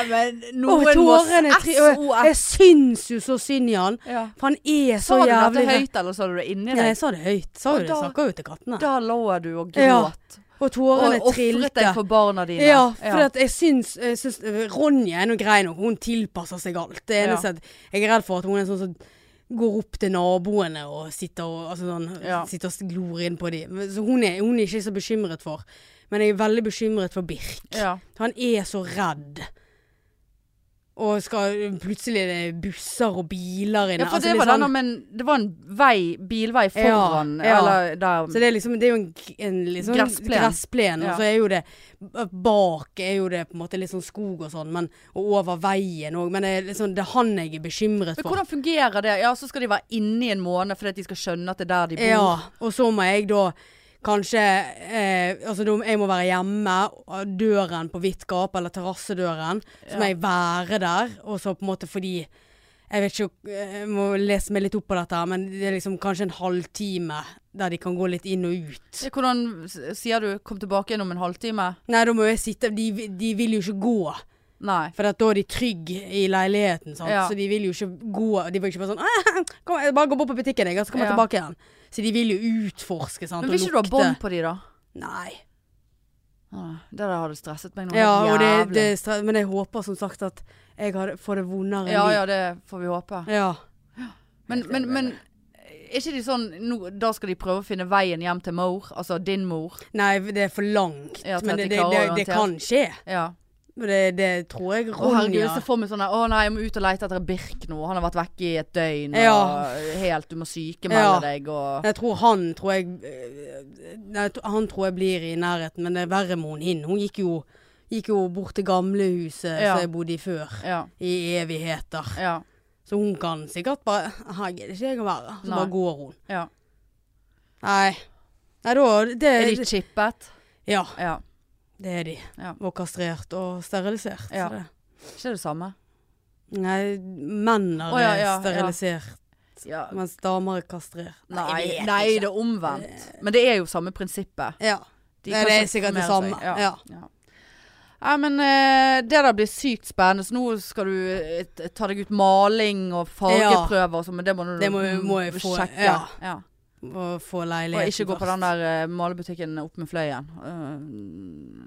B: men
A: Og
B: noen må
A: tårene tri- og jeg-
B: SOS.
A: Jeg syns jo så synd i han
B: Ja.
A: For han er
B: Sa
A: så
B: du dette
A: jævlig
B: høyt, eller sa du det inni
A: Ja, jeg
B: deg?
A: sa det høyt Sa
B: Og
A: jo det,
B: da-
A: snakker jo til kattene
B: Da lå du og
A: Ja.
B: gråt.
A: Og
B: Og
A: tårene
B: ofret deg
A: trilte
B: for barna dine.
A: Ja, for at jeg syns, jeg syns Ronja er noe grei nok. Hun tilpasser seg alt. Det eneste at jeg er redd for at hun er sånn som går opp til naboene og sitter og, altså sånn,
B: Ja.
A: sitter og glor inn på dem. Så hun er, hun er ikke så bekymret for. Men jeg er veldig bekymret for Birk.
B: ja.
A: Han er så redd. Og skal plutselig er det busser og biler inne.
B: Ja, for
A: Altså,
B: det,
A: er
B: var
A: sånn-
B: denne, men det var en vei, bilvei foran.
A: Ja, ja.
B: Eller der
A: Så det er liksom Det er jo en, g- en liksom
B: Gressplen.
A: gressplen,
B: Ja.
A: og så er jo det Bak er jo det på en måte litt sånn skog og sånn, men, og over veien òg. Men det er liksom det er han jeg er bekymret
B: men
A: for.
B: hvordan fungerer det? Ja, så skal de være inne i en måned fordi at de skal skjønne at det er der de bor.
A: Ja, og så må jeg da kanskje eh, Altså da- jeg må være hjemme, og døren på vidt gap, eller terrassedøren. Så
B: Ja.
A: må jeg være der, og så på en måte fordi jeg vet ikke, eh, jeg må lese meg litt opp på dette, her, men det er liksom kanskje en halvtime der de kan gå litt inn og ut.
B: Hvordan s- sier du 'kom tilbake igjen om en halvtime'?
A: Nei, da må jeg sitte De, de vil jo ikke gå,
B: Nei.
A: for at da er de trygge i leiligheten. Sant?
B: Ja.
A: Så de vil jo ikke gå. De vil ikke bare sånn «Ah, kom, jeg Bare gå bort på butikken, jeg, og så kommer jeg
B: Ja.
A: tilbake igjen. Så de vil jo utforske sant?
B: Men vil
A: og
B: ikke du ha
A: lukte.
B: bånd på de, da?
A: Nei.
B: Åh, Det der hadde stresset meg noe
A: Ja, og
B: helt
A: det,
B: jævlig.
A: det, er stra- men jeg håper som sagt at jeg har, får det vondere
B: ja,
A: enn
B: ja, det får vi håpe.
A: de. Ja.
B: Men, men, men er ikke de sånn nå, Da skal de prøve å finne veien hjem til mor, altså din mor.
A: Nei, det er for langt.
B: Ja, til at
A: men det,
B: de
A: det,
B: klarer å
A: det, det
B: orientere
A: kan skje.
B: Ja.
A: Det, det tror jeg
B: Å herregud,
A: Ronja
B: så får vi sånn der, Å nei, jeg må ut og lete etter Birk nå. Han har vært vekke i et døgn.
A: Ja.
B: Og helt, du må sykemelde
A: Ja.
B: deg og
A: Jeg tror han tror jeg eh, nei, jeg tror- Han tror jeg blir i nærheten, men det er verre med hun hin. Hun gikk jo, gikk jo bort til gamlehuset
B: Ja.
A: som jeg bodde i før.
B: Ja.
A: I evigheter.
B: ja.
A: Så hun kan sikkert bare Her gidder ikke jeg å være. Så
B: Nei.
A: bare går hun.
B: ja.
A: Nei. Nei, da Eh, det,
B: Er de chippet?
A: Ja,
B: Ja.
A: det er de.
B: Ja.
A: Og kastrert og sterilisert.
B: Ja.
A: så det-
B: Ikke det samme?
A: Nei, menn er
B: Å, ja, ja,
A: sterilisert,
B: Ja.
A: mens damer er kastrert.
B: Nei,
A: jeg vet
B: nei
A: ikke.
B: det er omvendt. Men det er jo samme prinsippet.
A: Ja.
B: De
A: Nei,
B: kan
A: det er
B: ikke
A: sikkert det
B: formere
A: samme,
B: seg. Ja. ja. Nei, men eh, det der blir sykt spennende. Så nå skal du eh, t- ta deg ut maling og fargeprøver og sånn, men det må du
A: Det må- må jeg få,
B: sjekke.
A: ja.
B: Ja.
A: Å få
B: Og
A: leiligheten
B: ikke gå på
A: først.
B: den der eh, malebutikken opp med fløyen.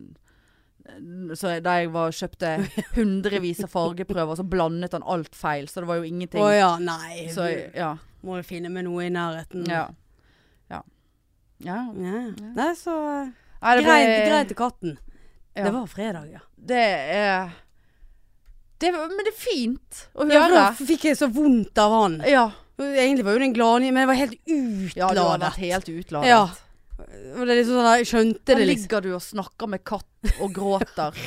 B: Eh, så da jeg var og kjøpte hundrevis av fargeprøver, så blandet han alt feil. Så det var jo ingenting.
A: Å ja, nei.
B: Så ja.
A: Må jo finne meg noe i nærheten.
B: Ja. ja. ja.
A: Ja. Nei, så eh,
B: Nei, det ble-
A: Grein, grein til katten.
B: Ja.
A: Det var fredag, ja.
B: Det er det, var- Men det er fint å
A: ja for da
B: høre.
A: fikk jeg så vondt av han.
B: Ja,
A: Egentlig var jo det en gladnyhet, men jeg var helt
B: ja du har vært
A: utladet.
B: helt utladet.
A: Ja, Og det er liksom sånn, jeg skjønte
B: Her
A: det liksom.
B: ligger du og snakker med katt og gråter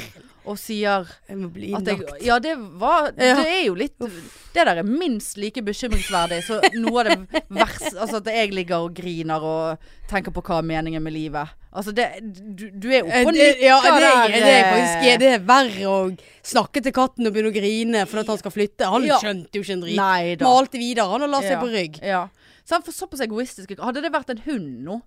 B: og sier
A: Jeg må bli
B: at jeg
A: innlagt.
B: Ja, det var
A: Ja.
B: Det er jo litt Det der er minst like bekymringsverdig så noe av det verste Altså at jeg ligger og griner og tenker på hva er meningen med livet. Altså det Du, du er
A: Eh,
B: oppe og
A: det,
B: nikker
A: ja, det, er-
B: der,
A: det er
B: eh,
A: faktisk det er verre å snakke til katten og begynne å grine fordi at han skal flytte. Han
B: Ja.
A: skjønte jo ikke en drit.
B: Nei da.
A: Malte videre han og la seg
B: Ja.
A: på rygg.
B: Ja. Så han får såpass egoistisk Hadde det vært en hund nå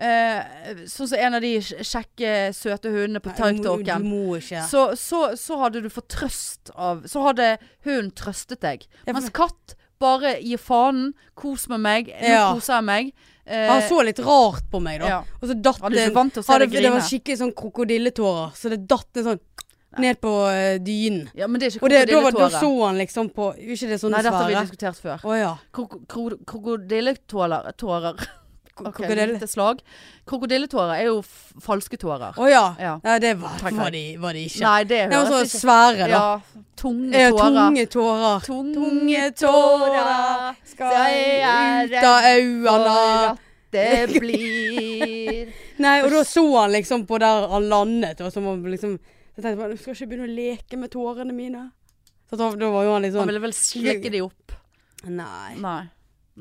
B: eh, Sånn som en av de kj- kjekke, søte hundene på
A: Nei, du må- Du
B: TikToken
A: må ikke.
B: så, så, så hadde du fått trøst av Så hadde hunden trøstet deg
A: Ja, for-
B: Mens katt bare gir fanen Kos med meg, nå
A: Ja.
B: koser jeg meg Eh,
A: Han så litt rart på meg da.
B: ja.
A: Og så datt
B: Han er
A: en-
B: ikke vant til å se
A: hadde,
B: deg
A: Det var
B: grine
A: skikkelig sånn krokodilletårer. Så det datt en sånn ned på eh, dynen.
B: Ja, men det er ikke
A: Og det, da, var, da
B: krokodilletårer
A: så han liksom på jo, Ikke det sånne
B: Nei, dette har vi
A: svære?
B: diskutert før
A: Å ja.
B: Kroko- kro- Krokodilletårer Tårer Ok,
A: Krokodille-
B: lite slag Krokodilletårer er jo f- falske tårer
A: Å ja.
B: Ja.
A: Nei, det var,
B: Takk,
A: var,
B: takk.
A: de, var de ikke.
B: Nei, det
A: det var
B: høres
A: så
B: ikke
A: svære, da.
B: Ja, tunge
A: Eh,
B: tårer.
A: Tunge tårer.
B: Tunge tårer skal
A: ut av øynene.
B: det blir
A: Nei, og da så han liksom på der han landet, og så må han liksom Så tenkte jeg bare, du skal ikke begynne å leke med tårene mine. Så da, da var jo han litt
B: Han
A: sånn
B: ville vel slikke de opp.
A: Nei.
B: Nei.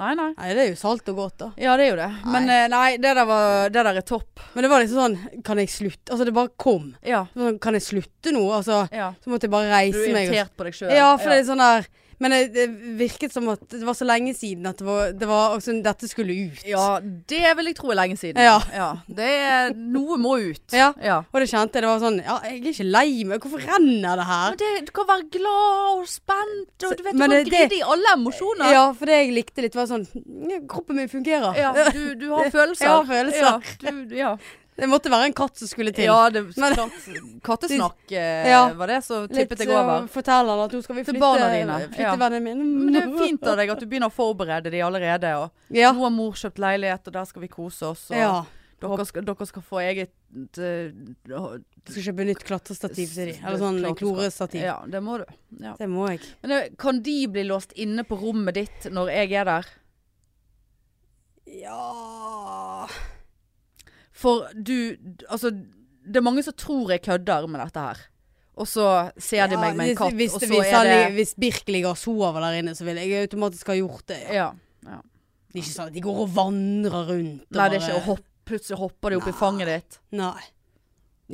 B: Nei, nei.
A: Nei, det er jo salt og godt, da.
B: Ja, det er jo det. Men eh, nei, det der, var, det der er topp.
A: Men det var liksom sånn Kan jeg slutte? Altså, det bare kom.
B: Ja.
A: Det var Sånn, kan jeg slutte nå? Altså,
B: ja.
A: så måtte jeg bare
B: Du
A: reise
B: er
A: meg. og-
B: irritert på deg sjøl.
A: Ja, for det er sånn der Men det, det virket som at det var så lenge siden at det var, det var altså, Dette skulle ut.
B: ja, det vil jeg tro er lenge siden.
A: Ja.
B: Det er Noe må ut.
A: Ja.
B: ja.
A: Og det kjente jeg. Det var sånn Ja, jeg er ikke lei meg. Hvorfor renner det her?
B: Men det, du kan være glad og spent, og du vet du
A: Men
B: kan
A: det- det-
B: grine i alle emosjoner.
A: Ja, for det jeg likte litt var sånn "Ja, Kroppen min fungerer.
B: Ja, du, du har følelser.
A: Jeg har følelser.
B: Ja, du, du- ja.
A: Det måtte være en katt som skulle til.
B: ja det,
A: Men-
B: klart, kattesnakk eh,
A: Ja.
B: var det, så
A: Litt eh,
B: tippet jeg
A: så
B: over.
A: Forteller han at nå skal vi
B: Til
A: flytte
B: barna dine,
A: Flytte
B: ja.
A: vennen min.
B: Men det er fint av deg at du begynner å forberede de allerede. Og
A: Ja.
B: Nå har mor kjøpt leilighet, og der skal vi kose oss. Og
A: ja.
B: dere, skal, dere skal få eget eh,
A: Jeg skal kjøpe nytt klatrestativ til de.
B: s-
A: Eller sånn
B: klart du skal.
A: klorestativ.
B: Ja, det må du. Ja.
A: Det må jeg.
B: Men eh, kan de bli låst inne på rommet ditt når jeg er der?
A: Ja
B: For du Altså, det er mange som tror jeg kødder med dette her. Og så ser de meg med en katt,
A: hvis,
B: og så
A: hvis,
B: er
A: han
B: det
A: lig- hvis Birk ligger og sover der inne, så vil jeg automatisk ha gjort det. Ja.
B: Ja.
A: Det er ikke sånn at de går og vandrer rundt. og
B: Nei, det er ikke
A: bare-
B: å hoppe. Plutselig hopper de opp
A: Nei.
B: i fanget ditt.
A: Nei.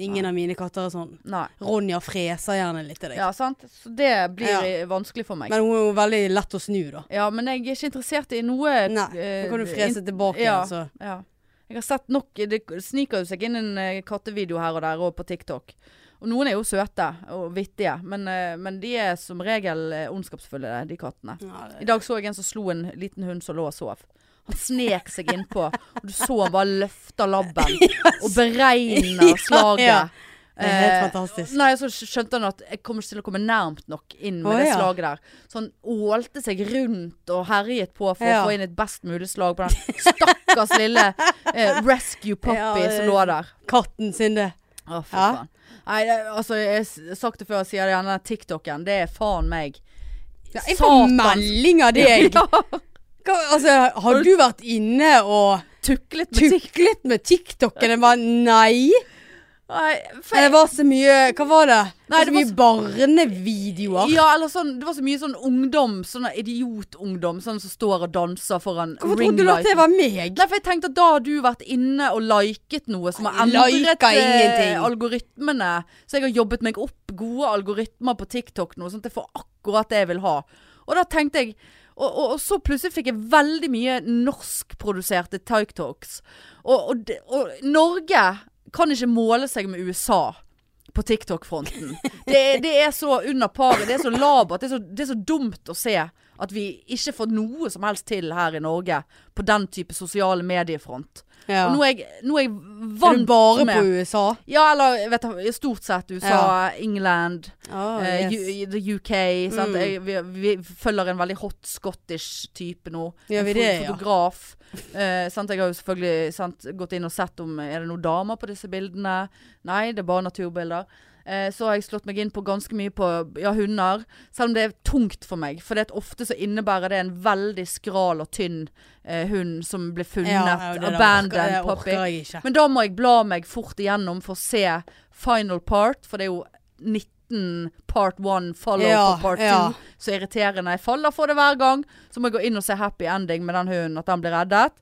A: Ingen av mine katter er sånn.
B: Nei.
A: Ronja freser gjerne litt til deg.
B: Ja, sant? Så det blir
A: Ja.
B: eh, vanskelig for meg.
A: Men hun er jo veldig lett å snu, da.
B: ja, men jeg er ikke interessert i noe
A: Nei,
B: eh,
A: da kan du
B: in-
A: frese tilbake
B: ja.
A: igjen, så.
B: Ja. Jeg har sett nok Det sniker jo seg inn en eh, kattevideo her og der, og på TikTok. Og noen er jo søte og vittige, men, eh, men de er som regel eh, ondskapsfulle, de kattene.
A: Ja,
B: I
A: det-
B: dag så jeg en som slo en liten hund som lå og sov. Han snek seg innpå, og du så han bare løfta labben og beregna slaget.
A: ja. Det er helt
B: Eh,
A: fantastisk.
B: Nei, så skj- skjønte han at jeg kommer ikke til å komme nærmt nok inn med
A: Å,
B: det
A: ja.
B: slaget der. Så han ålte seg rundt og herjet på for
A: Ja.
B: å få inn et best mulig slag på den stakkars lille eh, rescue puppy
A: Ja, det-
B: som lå der.
A: Katten sin, det.
B: Å, fy
A: Ja.
B: faen. Nei, det, altså, jeg har sagt det før, jeg sier det gjerne, den TikToken, det er faen meg.
A: Ja, jeg får melding av deg.
B: Ja,
A: Hva, altså, har du vært inne og
B: tuklet med TikTok.
A: tuklet med TikTok-en? Jeg bare nei.
B: Nei,
A: Men
B: fe-
A: det var så mye Eh, Hva var det?
B: Nei,
A: det
B: det var
A: var så mye barnevideoer.
B: Ja, eller sånn, det var så mye sånn ungdom, sånn idiotungdom, sånn som står og danser foran
A: Hvorfor trodde du at det var meg?
B: Nei, for jeg tenkte at da har du vært inne og liket noe som har endret
A: Altså, Liker
B: eh,
A: ingenting.
B: algoritmene. Så jeg har jobbet meg opp gode algoritmer på TikTok nå, sånn at jeg får akkurat det jeg vil ha. Og da tenkte jeg og, og, og så plutselig fikk jeg veldig mye norskproduserte TikToks. Og, og, det- og Norge kan ikke måle seg med USA på TikTok-fronten. Det, det er så under paret, det er så labert, det er så, det er så dumt å se at vi ikke får noe som helst til her i Norge på den type sosiale mediefront.
A: Ja.
B: Og nå er jeg, nå er jeg
A: Er du
B: vant
A: bare
B: med
A: på USA?
B: Ja, eller jeg vet, da, stort sett USA, England,
A: Oh,
B: eh,
A: yes. Mm.
B: U- the UK. Sant? Jeg, vi, vi følger en veldig hot scottish type nå.
A: Gjør
B: en
A: vi
B: fo-
A: det, ja?
B: Fotograf. Eh, sant? Jeg har jo selvfølgelig sant, gått inn og sett om Er det noen damer på disse bildene. Nei, det er bare naturbilder. Eh, så har jeg slått meg inn på ganske mye på ja, hunder. Selv om det er tungt for meg. For det at ofte så innebærer det en veldig skral og tynn eh, hund som blir funnet.
A: det der orker, det
B: abandoned puppy.
A: orker jeg ikke.
B: Men da må jeg bla meg fort igjennom for å se final part, for det er jo 19 part 1 follow
A: Ja,
B: for part 2.
A: ja.
B: Så irriterende. Jeg faller for det hver gang. Så må jeg gå inn og se happy ending med den hunden, at den blir reddet.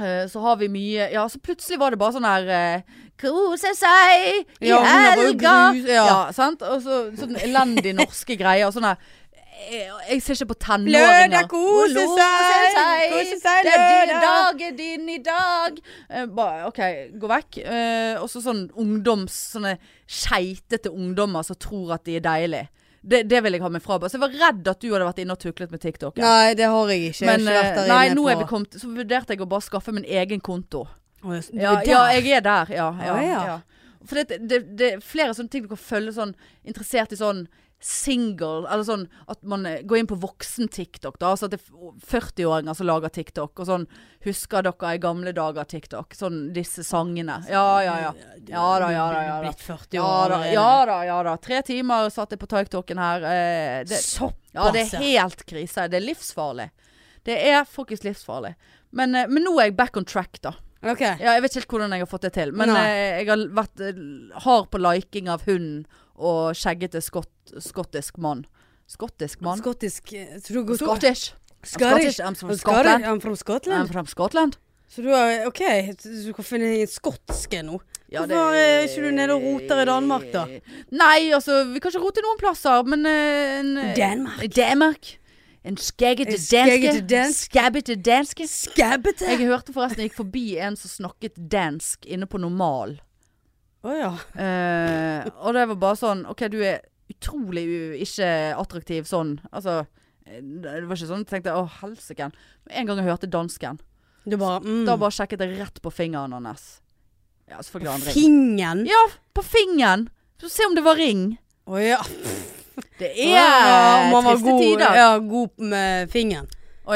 B: Eh, Så har vi mye Ja, så plutselig var det bare sånn her eh, Kose seg i
A: Ja, hun var jo
B: helga!
A: grus- ja.
B: sant? Og så sånn elendig norske greier. Og sånn her jeg, jeg ser ikke på tenåringer.
A: Lørdag kose seg, kose seg
B: Det er din
A: lørdag.
B: dag er din i dag. Eh, bare, OK, gå vekk. Eh, og så sånn ungdoms Sånne skeitete ungdommer som tror at de er deilige. Det, det vil jeg ha meg fra. Så jeg var redd at du hadde vært inne og tuklet med TikTok.
A: Nei, det har jeg ikke.
B: Men
A: jeg har ikke vært
B: eh,
A: der
B: nei,
A: inne
B: nå
A: på
B: er vi kommet Så vurderte jeg å bare skaffe min egen konto.
A: Å, yes, du er
B: Ja,
A: der.
B: ja jeg er der. Ja. ja,
A: Å, ja.
B: ja. For det, det, det er flere sånne ting du kan følge sånn interessert i sånn single Eller sånn at man eh, går inn på voksen-TikTok. da Altså at det er 40-åringer som lager TikTok. Og sånn 'Husker dere i gamle dager TikTok?' Sånn disse sangene. Ja, ja, ja.
A: Du-
B: Ja da, ja
A: Du
B: da. ja
A: er
B: da.
A: blitt 40 år. eh,
B: Ja da,
A: allerede.
B: ja da, ja da. Tre timer satt jeg på TikToken her. eh, Det,
A: Såpass,
B: ja, det
A: ja.
B: er helt krise. Det er livsfarlig. Det er faktisk livsfarlig. Men, eh, men nå er jeg back on track, da.
A: Ok.
B: Ja, jeg vet ikke helt hvordan jeg har fått det til, men
A: Nei.
B: eh, jeg har vært eh, hard på liking av hunden og skjeggete skott, skottisk mann. Skottisk mann?
A: Skottisk eh, Så du går
B: Scottish.
A: Scottish.
B: I'm
A: Scotland.
B: from Scotland.
A: I'm from
B: I'm
A: Scotland.
B: from Scotland.
A: Så du har OK, så du kan finne en skotsk en nå.
B: Ja, det-
A: Hvorfor er ikke du nede og roter i Danmark, da?
B: Nei, altså, vi kan ikke rote i noen plasser, men eh, en, eh,
A: Danmark.
B: Danmark. En
A: En
B: skjeggete
A: skjeggete
B: danske.
A: dansk.
B: Skabbete danske.
A: Skabbete!
B: Jeg hørte forresten jeg gikk forbi en som snakket dansk inne på normal.
A: Å ja.
B: Eh, og det var bare sånn OK, du er utrolig u ikke attraktiv sånn. Altså eh, Det var ikke sånn jeg tenkte å helsiken. Men En gang jeg hørte dansken,
A: Du bare mm.
B: da bare sjekket jeg rett på fingeren hans. Ja, selvfølgelig har han ring.
A: Fingeren.
B: Ja, på fingeren! Så se om det var ring.
A: Å ja.
B: Det
A: Å,
B: er
A: ja, man var
B: triste
A: god,
B: tider. Å ja.
A: Ja, god med fingeren.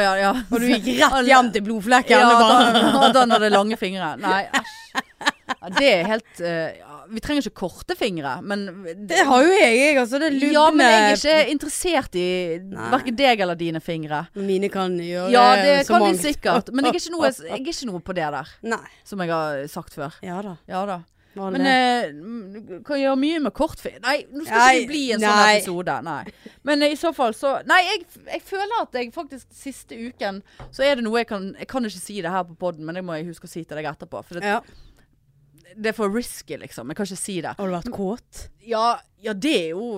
B: ja,
A: Og du gikk rett hjem til liksom. blodflekken.
B: Ja,
A: og bare,
B: da, da han hadde lange fingre. Nei, æsj. Ja, det er helt eh, ja, Vi trenger ikke korte fingre, men
A: det har jo jeg, jeg. Altså, det er lubne
B: Ja, men jeg er ikke interessert i verken deg eller dine fingre.
A: Mine kan gjøre eh,
B: Ja, det
A: så
B: kan de
A: mangt.
B: sikkert, men jeg er, ikke noe, jeg er ikke noe på det der,
A: Nei.
B: som jeg har sagt før.
A: Ja da.
B: Ja da.
A: Var det
B: Men
A: det?
B: eh, m- kan gjøre mye med kortfilm Nei, nå skal
A: Nei,
B: ikke det bli en sånn
A: nei.
B: episode. Nei. Men eh, i så fall så Nei, jeg, jeg føler at jeg faktisk siste uken Så er det noe jeg kan Jeg kan ikke si det her på poden, men det må jeg huske å si til deg etterpå. For det,
A: ja.
B: det er for risky, liksom. Jeg kan ikke si det.
A: Har du vært kåt?
B: Ja, ja, det er jo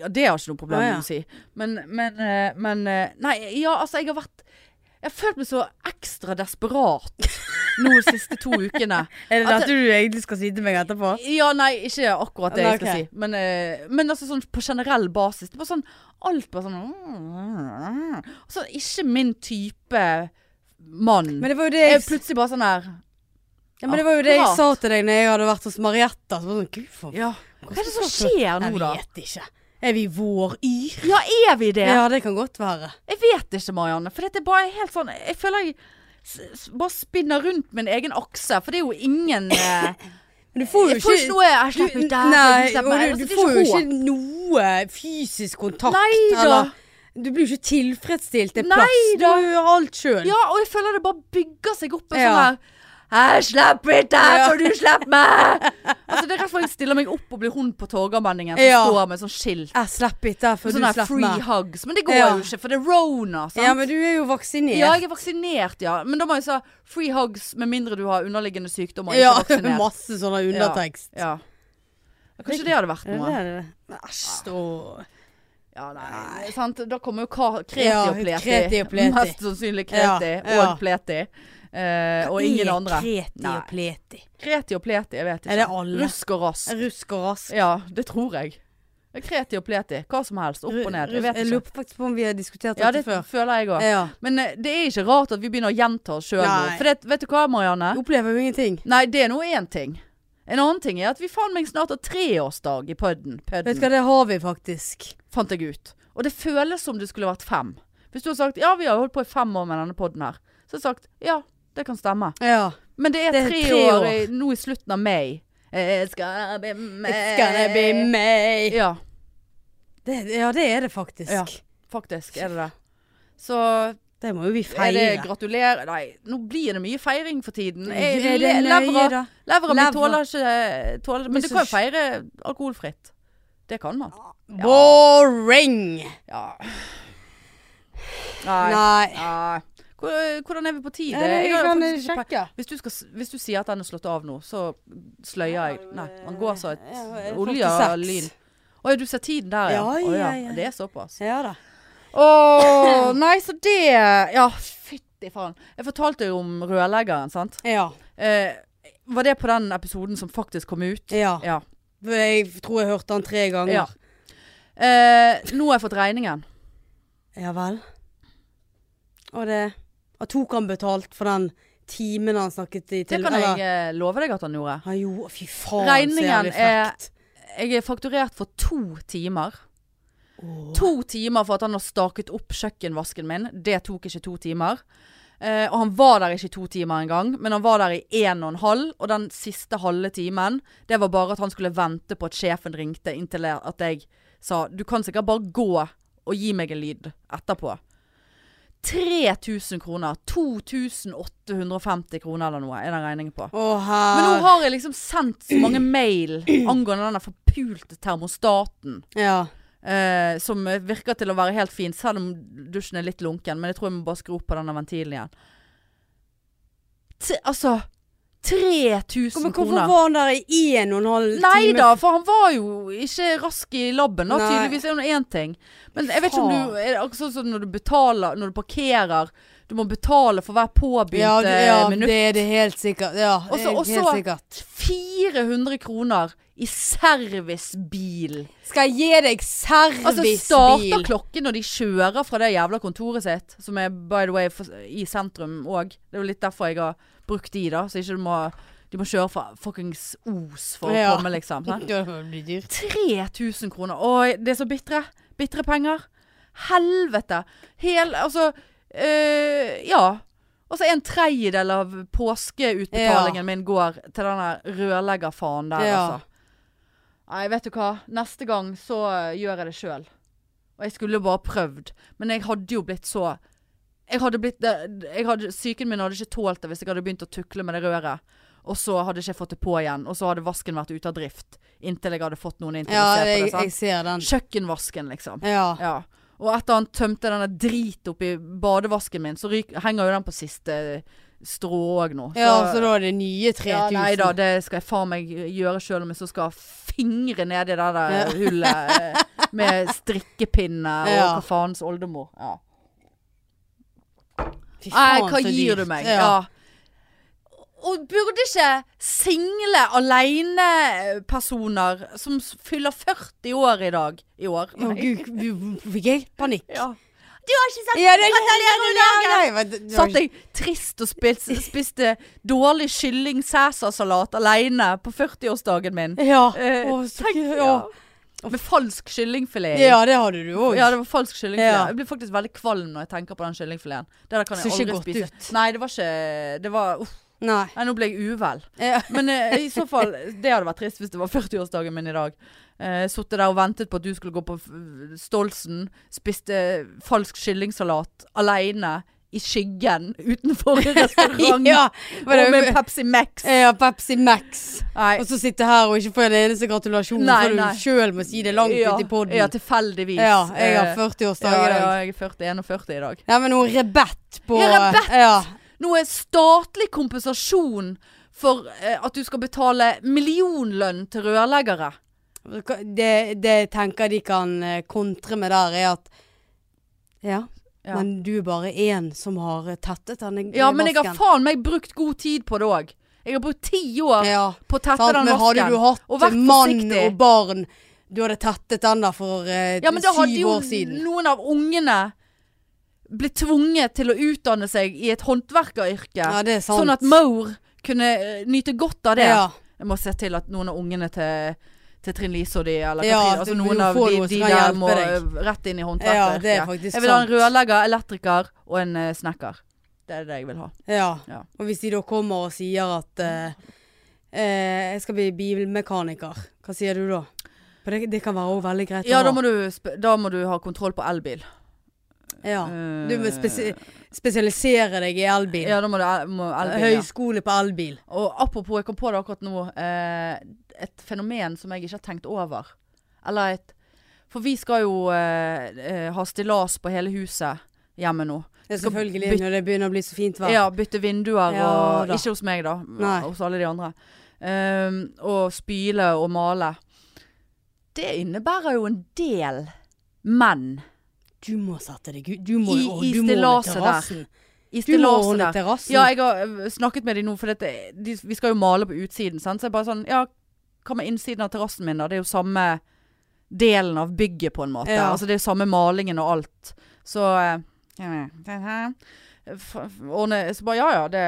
B: Ja, det har jeg ikke noe problem
A: Ah,
B: med
A: ja.
B: å si. Men, men, eh, men eh, Nei, ja, altså, jeg har vært Jeg har følt meg så ekstra desperat nå de siste to ukene.
A: Er det
B: At-
A: dette du egentlig skal si til meg etterpå?
B: Ja, nei, ikke akkurat det
A: Nei,
B: jeg skal
A: ok.
B: si. Men, eh, men altså sånn på generell basis. Det var sånn Alt bare sånn Altså, ikke min type mann.
A: Men det var jo det
B: Mm. jeg
A: jeg,
B: er plutselig bare sånn her
A: ja, men det, var jo det jeg
B: akkurat.
A: sa til deg når jeg hadde vært hos Marietta. Så var det sånn, Gud, for
B: Ja. Hva er det som skjer nå, da?
A: Jeg vet ikke. Er vi våryr?
B: Ja, er vi det?
A: Ja, det kan godt være.
B: Jeg vet ikke, Marianne. For dette er bare helt sånn Jeg føler jeg s s bare spinner rundt min egen akse. For det er jo ingen eh,
A: Men du får jo
B: Jeg får ikke
A: ikke
B: noe erstatning
A: du,
B: der,
A: nei,
B: for
A: og du,
B: eksempel. Altså,
A: du
B: det er
A: får jo
B: råd.
A: ikke noe fysisk kontakt.
B: Nei da.
A: eller- Du blir jo ikke tilfredsstilt. Det er
B: Nei
A: plass. Du
B: da.
A: gjør alt sjøl.
B: Ja, og jeg føler det bare bygger seg opp en
A: Ja.
B: sånn her jeg slipper ikke,
A: Ja.
B: for du slipper meg! Altså, det er rett og slett jeg stiller meg opp og blir hun på Torgallmenningen som
A: Ja.
B: står med sånn skilt.
A: Jeg slipper ikke for du
B: Sånn her
A: slipper
B: free
A: meg.
B: hugs. Men det går
A: Ja.
B: jo ikke, for det er rona. Sant?
A: Ja, men du er jo vaksinert.
B: Ja, jeg er vaksinert, ja. Men da må jeg si free hugs med mindre du har underliggende sykdommer.
A: Ja,
B: ikke vaksinert.
A: masse sånne undertekst.
B: Ja. Ja, Kanskje det hadde vært
A: Er det
B: noe.
A: det det? Men Æsj, stå
B: Ja, nei, sant? Da kommer jo ka- Kreti
A: Ja,
B: og Pleti.
A: Kreti og Pleti.
B: Mest sannsynlig
A: Ja,
B: Kreti
A: ja.
B: og Pleti. Eh, og ingen andre.
A: Kreti
B: Nei.
A: og pleti.
B: Kreti og Pleti, jeg vet ikke.
A: Er det alle?
B: Rusk og rask.
A: Rusk og rask.
B: Ja, det tror jeg. Kreti og Pleti. Hva som helst. Opp og ned. Jeg vet
A: Jeg
B: ikke.
A: lurer faktisk på om vi har diskutert
B: Ja,
A: dette
B: det
A: før.
B: føler jeg òg.
A: Ja.
B: Men eh, det er ikke rart at vi begynner å gjenta oss sjøl nå.
A: Nei.
B: For det, vet du hva, Marianne?
A: Jeg opplever jo ingenting.
B: Nei, det er nå én ting. En annen ting er at vi faen meg snart har treårsdag i pudden.
A: Vet du hva, det har vi faktisk.
B: Fant jeg ut. Og det føles som det skulle vært fem. Hvis du har sagt ja, vi har holdt på i fem år med denne podden her, så har jeg sagt ja, det kan stemme.
A: Ja.
B: Men det er,
A: Det er
B: tre,
A: tre
B: år,
A: år.
B: i, nå i slutten av mai. Jeg skal bli meg
A: It's gonna be me.
B: Ja,
A: Det, ja, det er det faktisk.
B: Ja. faktisk er det det. Så
A: Det må jo vi
B: er
A: feire.
B: det gratulerer Nei, nå blir det mye feiring for tiden. Jeg-
A: Er det
B: le- levra-
A: da?
B: Levra mi
A: Levra.
B: tåler ikke eh, tåler,
A: Men
B: Men du
A: så
B: kan jo
A: sj-
B: feire alkoholfritt. Det kan man.
A: Boring!
B: Ja. Nei.
A: Nei.
B: Nei. Hvor- Hvordan er vi på tid?
A: Ja, det-
B: har
A: jeg Eh, kan
B: faktisk ikke
A: sjekke.
B: pe- Hvis du, skal, s- hvis du sier at den er slått av nå, så sløyer jeg. Nei, den går så et
A: eh, Ja, er det
B: olje og
A: 46?
B: lyn. Å ja, du ser tiden der, ja.
A: Ja,
B: Å,
A: ja, ja.
B: Det er såpass.
A: Ja da.
B: Å, nei, så det Ja, fytti faen. Jeg fortalte jo om rørleggeren, sant.
A: Ja.
B: Eh, var det på den episoden som faktisk kom ut?
A: ja.
B: Ja.
A: Jeg tror jeg hørte han tre ganger.
B: Ja. Eh, nå har jeg fått regningen.
A: Ja vel. Og det Og tok han betalt for den timen han snakket i
B: Det
A: til
B: kan jeg eh, love deg at han gjorde.
A: Han gjorde Fy faen,
B: Regningen
A: så jævlig
B: er-
A: frekt.
B: Jeg er fakturert for to timer.
A: Åh.
B: To timer for at han har staket opp kjøkkenvasken min. Det tok ikke to timer. Eh, og han var der ikke i to timer engang, men han var der i en og en halv. Og den siste halve timen, det var bare at han skulle vente på at sjefen ringte inntil jeg- at jeg sa du kan sikkert bare gå og gi meg en lyd etterpå. 3000 kroner. 2850 kroner eller noe er den regningen på.
A: Å, her.
B: Men nå har jeg liksom sendt så mange mail angående denne forpulte termostaten.
A: Ja.
B: Eh, som virker til å være helt fin, selv om dusjen er litt lunken. Men jeg tror jeg må bare skru opp på denne ventilen igjen. T altså 3000
A: Men hvorfor
B: kroner.
A: var han der i en og en halv time?
B: Nei da, for han var jo ikke rask i labben. Da.
A: Nei.
B: Tydeligvis er det én ting. Men jeg vet ikke om du er det Akkurat sånn som når du betaler Når du parkerer. Du må betale for hver påbegynte
A: Ja, det, ja
B: minutt.
A: det er det helt sikkert. Ja, det
B: Også-
A: er det
B: også-
A: helt sikkert.
B: 400 kroner i servicebil.
A: Skal jeg gi deg
B: Altså
A: servicebil?
B: starter klokken når de kjører fra det jævla kontoret sitt, som er by the way for, i sentrum òg. Det er jo litt derfor jeg har brukt de, da. Så ikke du må De må kjøre fra fuckings Os for
A: Ja.
B: å komme, liksom. sant?
A: Det blir dyrt.
B: 3000 kroner. Oi, det er så bitre. Bitre penger. Helvete. Hel Altså øh, Ja. Altså en tredjedel av påskeutbetalingen
A: Ja.
B: min går til denne rørleggerfaen der,
A: Ja.
B: altså. Nei, vet du hva. Neste gang så øh, gjør jeg det sjøl. Og jeg skulle bare prøvd. Men jeg hadde jo blitt så jeg hadde blitt, jeg hadde, Psyken min hadde ikke tålt det hvis jeg hadde begynt å tukle med det røret. Og så hadde jeg ikke fått det på igjen. Og så hadde vasken vært ute av drift. Inntil jeg hadde fått noen inn til
A: Ja,
B: å se
A: jeg,
B: på det.
A: jeg ser den.
B: Sant? Kjøkkenvasken, liksom.
A: Ja.
B: Ja. Og etter han tømte denne drit oppi badevasken min, så ryk, henger jo den på siste strå òg nå.
A: ja, så da er det nye 3000.
B: Ja, nei da, det skal jeg faen meg gjøre sjøl om jeg så skal fingre nedi det der
A: Ja.
B: hullet eh, med strikkepinne og
A: Ja.
B: hva faens oldemor. Ja.
A: Fy
B: Nei,
A: faen,
B: hva
A: så
B: gir
A: dyrt.
B: du meg? Ja. Og burde ikke single alenepersoner som s- fyller 40 år i dag i år
A: Å gud, gud, fikk jeg panikk?
B: Ja. Du har ikke sett
A: Ja, det,
B: Hva tar dere om dagen? Satt
A: jeg
B: jeg trist og spiste, spiste dårlig kylling Cæsarsalat aleine på 40-årsdagen min.
A: Ja.
B: Eh,
A: Å, så
B: tenk,
A: gøy,
B: ja.
A: ja.
B: Med falsk kyllingfilet. i.
A: ja, det hadde du òg.
B: Ja, det var falsk kyllingfilet.
A: Ja.
B: Jeg blir faktisk veldig kvalm når jeg tenker på den kyllingfileten. Det der kan
A: Så
B: jeg
A: ikke
B: aldri
A: godt
B: spise.
A: ut.
B: Nei, det var ikke Det var uff.
A: Nei.
B: Nei, nå ble jeg uvel.
A: Ja.
B: Men eh, i så fall, det hadde vært trist hvis det var 40-årsdagen min i dag. Eh, Sittet der og ventet på at du skulle gå på f- Stolsen. Spiste falsk kyllingsalat aleine i skyggen utenfor en restaurant.
A: ja, var
B: og med
A: det,
B: Pepsi Max.
A: ja, Pepsi Max.
B: Nei.
A: Og så sitte her og ikke få en eneste gratulasjon,
B: Nei,
A: for
B: nei.
A: du sjøl må si det langt
B: ja,
A: ut i poden.
B: Ja, tilfeldigvis.
A: Ja, jeg har
B: Eh,
A: 40-årsdag
B: ja,
A: i dag.
B: ja, jeg er 41 i dag.
A: Nei, men hun Rebett på eh,
B: Ja, Rebett!
A: Ja.
B: Noe statlig kompensasjon for eh, at du skal betale millionlønn til rørleggere.
A: Det, det jeg tenker de kan eh, kontre med der, er at ja,
B: Ja.
A: men du er bare én som har eh, tettet denne eh,
B: Ja, men jeg har
A: vasken.
B: faen meg brukt god tid på det òg. Jeg har brukt ti år
A: ja,
B: på å tette
A: sant,
B: den
A: men hadde
B: vasken.
A: du
B: og
A: hatt
B: vært
A: mann
B: forsiktig.
A: og barn Du hadde tettet den der for eh,
B: Ja, men da hadde
A: syv
B: jo
A: år siden.
B: noen av ungene blitt tvunget til å utdanne seg i et håndverkeryrke.
A: Ja, det er sant.
B: sånn at Maur kunne eh, nyte godt av det.
A: Ja,
B: Jeg må se til at noen av ungene til, til Trinn Lise og de eller
A: Ja,
B: Katrin,
A: at
B: altså
A: du
B: noen
A: må
B: av
A: få
B: de,
A: noe som
B: de
A: kan
B: der
A: hjelpe
B: må
A: deg.
B: eh, rett inn i
A: ja,
B: håndverkeryrket.
A: det er faktisk
B: jeg vil ha en
A: sant.
B: rørlegger, elektriker og en eh, snekker. Det er det jeg vil ha.
A: Ja.
B: Ja.
A: Og hvis de da kommer og sier at eh, eh, jeg skal bli bilmekaniker, hva sier du da? For det, det kan være også veldig greit
B: Ja,
A: å
B: da
A: ha.
B: må du, sp- da må du ha kontroll på elbil.
A: ja.
B: Eh,
A: Du må spesi spesialisere deg i elbil.
B: Ja, da må du el- må elbil. Ja.
A: Høyskole på elbil.
B: Og apropos, jeg kom på det akkurat nå. Eh, et fenomen som jeg ikke har tenkt over. Eller et For vi skal jo eh, eh, ha stillas på hele huset hjemme nå.
A: Det er
B: Skal
A: selvfølgelig
B: bytte-
A: når det begynner å bli så fint vær.
B: Ja, bytte vinduer
A: Ja,
B: og
A: da.
B: Ikke hos meg, da.
A: Nei.
B: Hos alle de andre. Ehm, og spyle og male. Det innebærer jo en del menn
A: Du må sette deg ut. Du må
B: I-
A: å,
B: i
A: du må med
B: stillaset der.
A: terrassen. Du
B: i
A: må
B: stillaset
A: ordne
B: der.
A: terrassen.
B: Ja, jeg har øh, snakket med de nå, for dette, de, vi skal jo male på utsiden. Sant? Så jeg bare sånn Ja, hva med innsiden av terrassen min, da? Det er jo samme delen av bygget, på en måte.
A: Ja.
B: Altså det er jo samme malingen og alt. Så øh, ja, f- f- Ordne Så bare ja ja, det,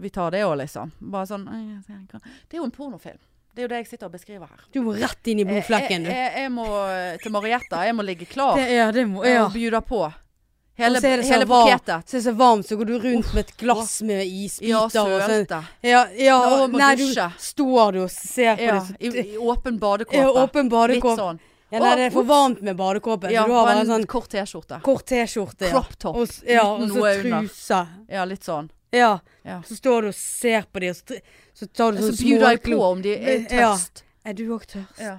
B: vi tar det òg, liksom. Bare sånn øh, Det er jo en pornofilm. Det er jo det jeg sitter og beskriver her.
A: Du må rett
B: Eh,
A: inn i blodflekken, du.
B: Jeg, jeg, jeg må øh, til Marietta. Jeg må ligge klar
A: Det- ja, det må
B: og bjude på.
A: Og så er
B: Hele,
A: det sånn, så
B: hele
A: varmt.
B: pakettet.
A: Så er det så varmt, så går du rundt med et glass med isbiter
B: Ja,
A: og sånn.
B: sølte.
A: Ja, ja,
B: Nå må
A: nei, du
B: dusje.
A: står du og ser på
B: Ja,
A: det. så-
B: i, i åpen
A: Ja,
B: badekåpe.
A: Åpen
B: Litt
A: badekåpe.
B: sånn.
A: Ja, nei,
B: Å,
A: det er for
B: ups.
A: varmt med badekåpe.
B: Ja,
A: så du har
B: og
A: bare
B: en
A: en sånn
B: kort T-skjorte.
A: kort T-skjorte. Ja.
B: Crop top.
A: Og, s- ja,
B: uten
A: og
B: noe
A: så
B: under.
A: truse.
B: Ja, litt sånn.
A: Ja.
B: Ja.
A: Så står du og ser på dem, og så tr- så tar du
B: Så
A: sånn
B: bjuder jeg på
A: småglo.
B: om de er
A: Ja.
B: tørst.
A: Er du òg tørst?
B: Ja.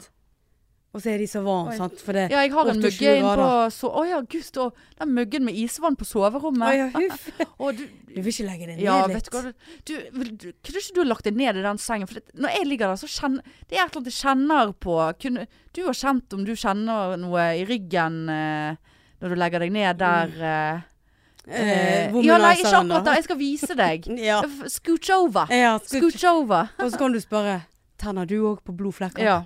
A: Og så er de så varme,
B: Oi.
A: sant? For det
B: Ja, jeg har
A: 28
B: en mugge inn på
A: grader.
B: so Å ja, gud, stå- den muggen med isvann på
A: Å
B: soverommet.
A: ja, huff.
B: Å, du,
A: Du vil ikke legge det ned
B: ja,
A: litt?
B: vet du hva du, du, vil- du, Kunne ikke du lagt deg ned i den sengen? For det, når jeg ligger der, så kjenner Det er et eller annet jeg kjenner på kunne, Du har kjent om du kjenner noe i ryggen eh, når du legger deg
A: Mm.
B: ned der eh, eh, Ja, nei, ikke
A: womaniseren,
B: akkurat der. Jeg skal vise deg.
A: Ja. Eh,
B: F- Scooch over.
A: ja skal,
B: Scooch over.
A: og så kan du spørre Tenner du òg på blodflekker?
B: Ja.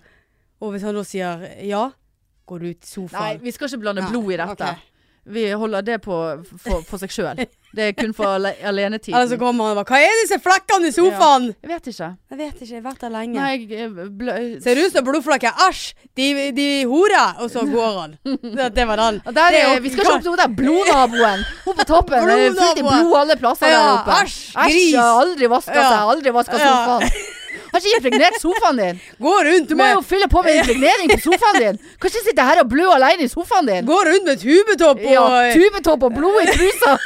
A: Og hvis han da sier ja, går du ut i
B: Nei,
A: sofaen.
B: vi skal ikke blande
A: Nei,
B: blod i dette.
A: ok.
B: Vi holder det på for, for seg sjøl. Det er kun for ale
A: Eller så
B: alenetiden.
A: kommer han og bare Hva er disse flekkene i sofaen?
B: Jeg vet ikke.
A: Jeg vet ikke, jeg har vært der lenge.
B: Nei, jeg eh, blø...
A: Ser ut som blodflekker. Æsj! De, de horer! Og så går han. Det, det var den.
B: Der er,
A: Det er
B: vi skal ikke opp til hun der blodnaboen! Hun på toppen. det er Fullt i
A: Blodnaboen.
B: blod alle plasser
A: Ja,
B: der oppe.
A: æsj, gris.
B: jeg har aldri vaska
A: Ja.
B: seg. Aldri vaska
A: Ja.
B: sofaen. Har ikke impregnert sofaen din.
A: Går rundt
B: Du må
A: med
B: jo fylle på med impregnering på sofaen din. Kan ikke sitte her og blø aleine i sofaen din.
A: Går rundt med tubetopp
B: Ja,
A: og eh,
B: Tubetopp og blod i trusa.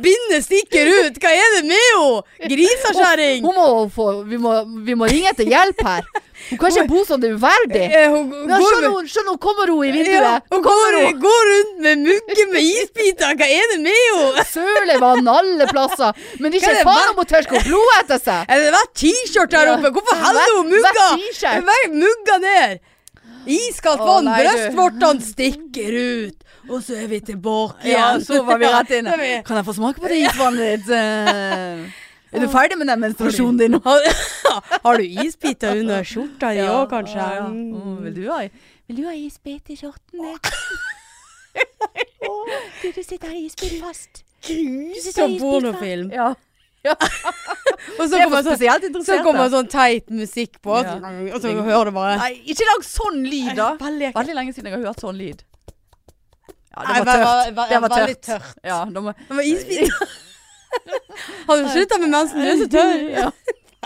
A: bindet stikker ut. Hva er det med henne? Grisakjerring!
B: Hun må få, vi, må, vi må ringe etter hjelp her. Hun kan ikke bo sånn, det er uverdig.
A: Eh, Hun hun
B: Ja,
A: går
B: se nå,
A: med
B: se nå kommer hun i
A: ja,
B: vinduet.
A: hun går, går rundt med mugge med isbiter. Hva er det med henne?
B: Sølevann alle plasser. Men
A: Hva
B: ikke
A: er det
B: faen om hun tørker blod etter seg.
A: Er det vært T-skjort her
B: Ja.
A: oppe? Hvorfor
B: Hver-
A: heller hun mugga?
B: hver t-shirt.
A: Hver mugga ned. Iskaldt
B: Å,
A: vann,
B: nei, du.
A: brøstvortene stikker ut. Og så er vi tilbake
B: Ja,
A: igjen.
B: så var vi rett inne.
A: Da er vi-
B: Kan jeg få smake på det isvannet ditt? Eh, Er du ferdig med den menstruasjonen din nå?
A: Har, har du isbiter under skjorta di òg, kanskje?
B: Ja, ja. Å, Vil
A: Mm.
B: du ha, vil du ha isbit i skjorten din? Du, du sitter her isbit fast.
A: Grusom pornofilm.
B: Ja.
A: Og så
B: Det er
A: kommer
B: for
A: sånn,
B: spesielt
A: så
B: interesserte.
A: kommer sånn teit musikk på,
B: Ja.
A: og så hører du bare
B: Nei, ikke lag sånn lyd, da.
A: Veldig ekkelt.
B: Veldig lenge siden jeg har hørt sånn lyd. Ja,
A: Nei,
B: det var
A: ve-
B: tørt.
A: ve- ve-
B: Det var
A: veldig
B: tørt. Ja, da må
A: Det var isbiter. Har du slutta med mensen? Du er så tørr.
B: Ja.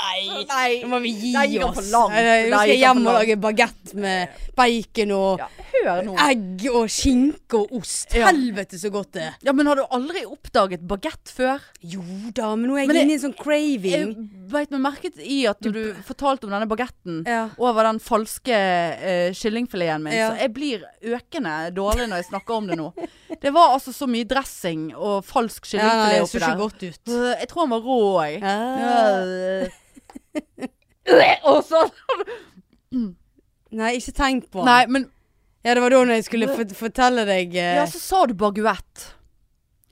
A: Nei.
B: Nei.
A: Nå må vi gi
B: Der gikk han
A: oss.
B: for langt.
A: Nei, nei,
B: Der
A: Nå skal jeg
B: gikk han
A: hjem
B: for
A: og
B: langt.
A: lage bagett med bacon og
B: Ja, hør nå.
A: egg og skinke og ost.
B: Ja.
A: Helvete så godt det er.
B: Ja, men har du aldri oppdaget bagett før?
A: Jo da, men nå er jeg
B: Men det-
A: inne i en sånn craving.
B: Jeg beit meg merket i at når du fortalte om denne bagetten
A: Ja.
B: over den falske eh, kyllingfileten min,
A: Ja.
B: så jeg blir økende dårlig når jeg snakker om det nå. Det var altså så mye dressing og falsk
A: Ja, nei,
B: kyllingfilet
A: det
B: oppi
A: ser ikke
B: der.
A: godt ut.
B: Øh, Jeg tror han var rå, jeg.
A: Øh, Og så Nei, ikke tenk på
B: Nei,
A: han.
B: men
A: Ja, det var da når jeg skulle fort- fortelle deg eh,
B: Ja, så sa du baguett.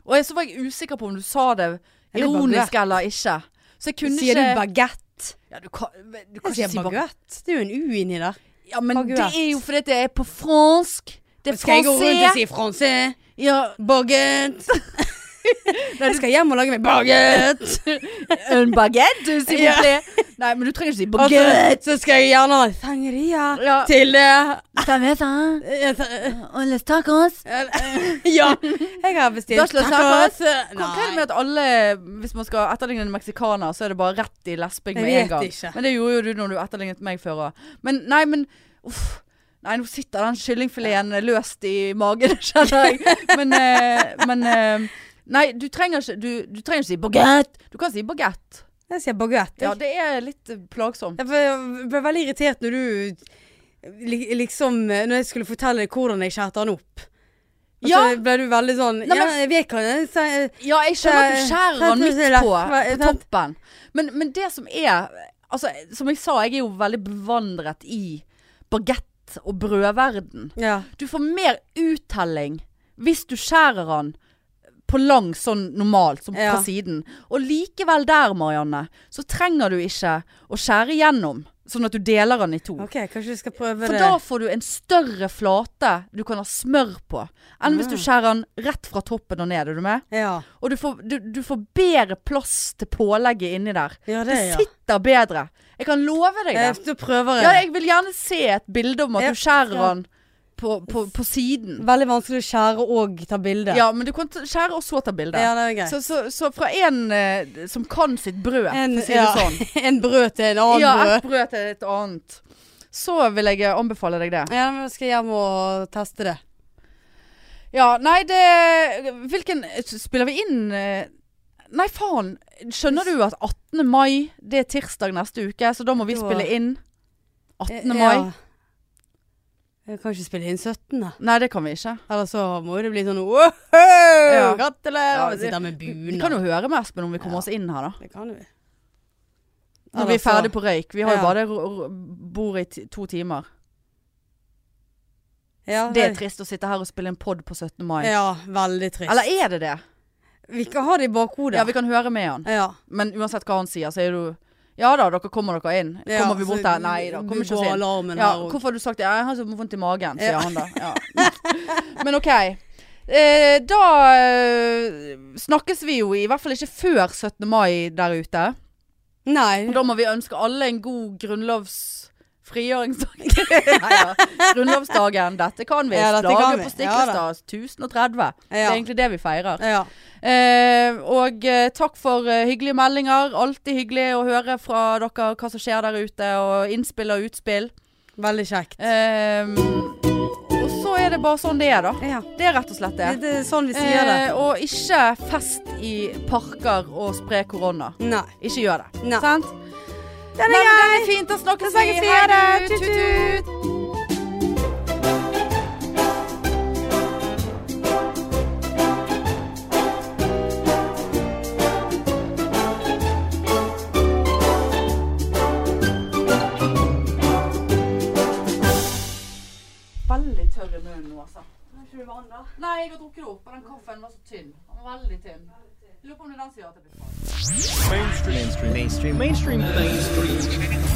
B: Og jeg, så var jeg usikker på om du sa det
A: det
B: ironisk
A: baguett?
B: eller ikke. Så jeg kunne
A: Sier
B: ikke
A: du bagett?
B: ja, du kan, du kan
A: Jeg
B: ikke
A: sier
B: si baguett.
A: baguett. Det er jo en U inni der.
B: Ja, men
A: Baguett.
B: det er jo fordi det er på fransk. Det er
A: Skal jeg gå rundt og
B: fransé.
A: si francais?
B: Ja,
A: Baguett. Jeg skal hjem og lage meg baguett.
B: en baguette, s'il
A: Ja.
B: vous plaît. Nei, men du trenger ikke si
A: Og
B: baguette.
A: så- så skal jeg gjerne ha sangeria
B: Ja.
A: til det.
B: Cerveza
A: Eh, eh,
B: og les tacos.
A: Ja, jeg har bestilt
B: Bachelor tacos. Hva er det med
A: Nei.
B: at alle, hvis man skal etterligne en meksikaner, så er det bare rett i lesping
A: Jeg
B: med en
A: vet
B: gang?
A: ikke.
B: Men det gjorde jo du når du etterlignet meg før òg. Men nei, men uff. Nei, nå sitter den kyllingfileten løst i magen, kjenner jeg. Men, eh, men eh, Nei, du trenger ikke du, du trenger ikke si baguette. Du kan si baguette.
A: Jeg sier baguett.
B: Ja,
A: jeg.
B: det er litt eh, plagsomt.
A: Jeg ble, ble veldig irritert når du li- liksom eh, Når jeg skulle fortelle deg hvordan jeg skjærte han opp. Og
B: Ja.
A: så ble du veldig sånn
B: Nei,
A: Ja,
B: men-
A: jeg vet hva det er.
B: Ja, jeg skjønner at du
A: Så-
B: skjærer
A: sant,
B: den midt
A: så lett,
B: på,
A: hva-
B: på
A: sant.
B: toppen. Men, men det som er Altså, som jeg sa, jeg er jo veldig bevandret i bagett- og brødverden.
A: Ja.
B: Du får mer uttelling hvis du skjærer den på lang sånn normalt, som
A: Ja.
B: fra siden. Og likevel der, Marianne, så trenger du ikke å skjære gjennom, sånn at du deler den i to.
A: OK, kanskje du skal prøve
B: For
A: det.
B: da får du en større flate du kan ha smør på, enn hvis du
A: Mm.
B: skjærer den rett fra toppen og ned. Er du med?
A: Ja.
B: Og du får, du, du får bedre plass til pålegget inni der.
A: ja,
B: Det
A: det, ja.
B: sitter bedre. Jeg kan love deg
A: Eh,
B: det.
A: Da prøver
B: Ja,
A: jeg.
B: jeg vil gjerne se et bilde om at
A: Ja,
B: du skjærer
A: ja.
B: den på, på, på siden.
A: Veldig vanskelig å skjære og ta bilde.
B: Ja, men du kan ta- skjære og så ta bilde.
A: Ja, det er greit.
B: Så, så, så fra en eh, som kan sitt brød,
A: En-
B: for å si
A: ja.
B: det sånn.
A: en brød til en annen
B: Ja,
A: brød.
B: ett brød til et annet. Så vil jeg eh, anbefale deg det.
A: Ja, men jeg skal hjem og teste det.
B: Ja, nei, det Hvilken Spiller vi inn eh, Nei, faen. Skjønner du at 18. mai, det er tirsdag neste uke, så da må vi
A: Da-
B: spille inn 18.
A: Eh,
B: mai?
A: ja. Jeg kan ikke spille inn 17. da.
B: Nei, det kan vi ikke.
A: Eller så må jo det bli sånn Wow! Gratulerer!
B: Ja,
A: og
B: det-
A: sitter med bunad.
B: Vi kan jo høre med Espen om vi kommer
A: Ja.
B: oss inn her, da.
A: Det kan vi.
B: Når vi er ferdig på røyk. Vi har jo
A: Ja.
B: bare ro- ro- bord i ti- to timer.
A: ja,
B: Det er trist å sitte her og spille en pod på 17. mai.
A: Ja, veldig trist.
B: Eller er det det?
A: vi kan ha det i bakhodet.
B: Ja, vi kan høre med han.
A: Ja.
B: Men uansett hva han sier, så er du Ja da, dere kommer dere inn.
A: Ja,
B: Kommer vi
A: så
B: bort her? Nei da,
A: vi
B: kommer ikke
A: går
B: oss inn.
A: alarmen
B: Ja,
A: her og-
B: hvorfor har du sagt det? Ja, Jeg har så vondt i magen, sier
A: Ja.
B: han da. Ja. Men OK. Eh, da eh, snakkes vi jo i hvert fall ikke før 17. mai der ute. Og
A: Nei.
B: da må vi ønske alle en god grunnlovsfrigjøringsdag. Nei, ja. Grunnlovsdagen. Dette kan vi.
A: Ja, dette
B: Slaget
A: kan vi.
B: på
A: Ja da.
B: Stiklestad 1030. Det
A: Ja.
B: er egentlig det vi feirer.
A: Ja.
B: Eh, og eh, takk for eh, hyggelige meldinger. Alltid hyggelig å høre fra dere hva som skjer der ute, og innspill og utspill.
A: Veldig kjekt.
B: Ehm, og så er det bare sånn det er, da.
A: Ja.
B: Det er rett og slett det.
A: Det, det er sånn vi sier det.
B: Eh, og ikke fest i parker og spre korona.
A: Nei.
B: Ikke gjør det.
A: Nei.
B: Sant?
A: Den
B: Men
A: er grei.
B: det er fint. Da
A: Da
B: snakkes vi.
A: snakkes vi. Ha det.
B: Tut,
A: Tut,
B: tut.
A: tut.
B: Veldig tørr i munnen nå, altså. Nei, jeg har drukket det opp, og den kaffen var så tynn. Den var veldig tynn. Lurer på om det er den som gjør at det blir farlig.
C: mainstream mainstream mainstream mainstream mainstream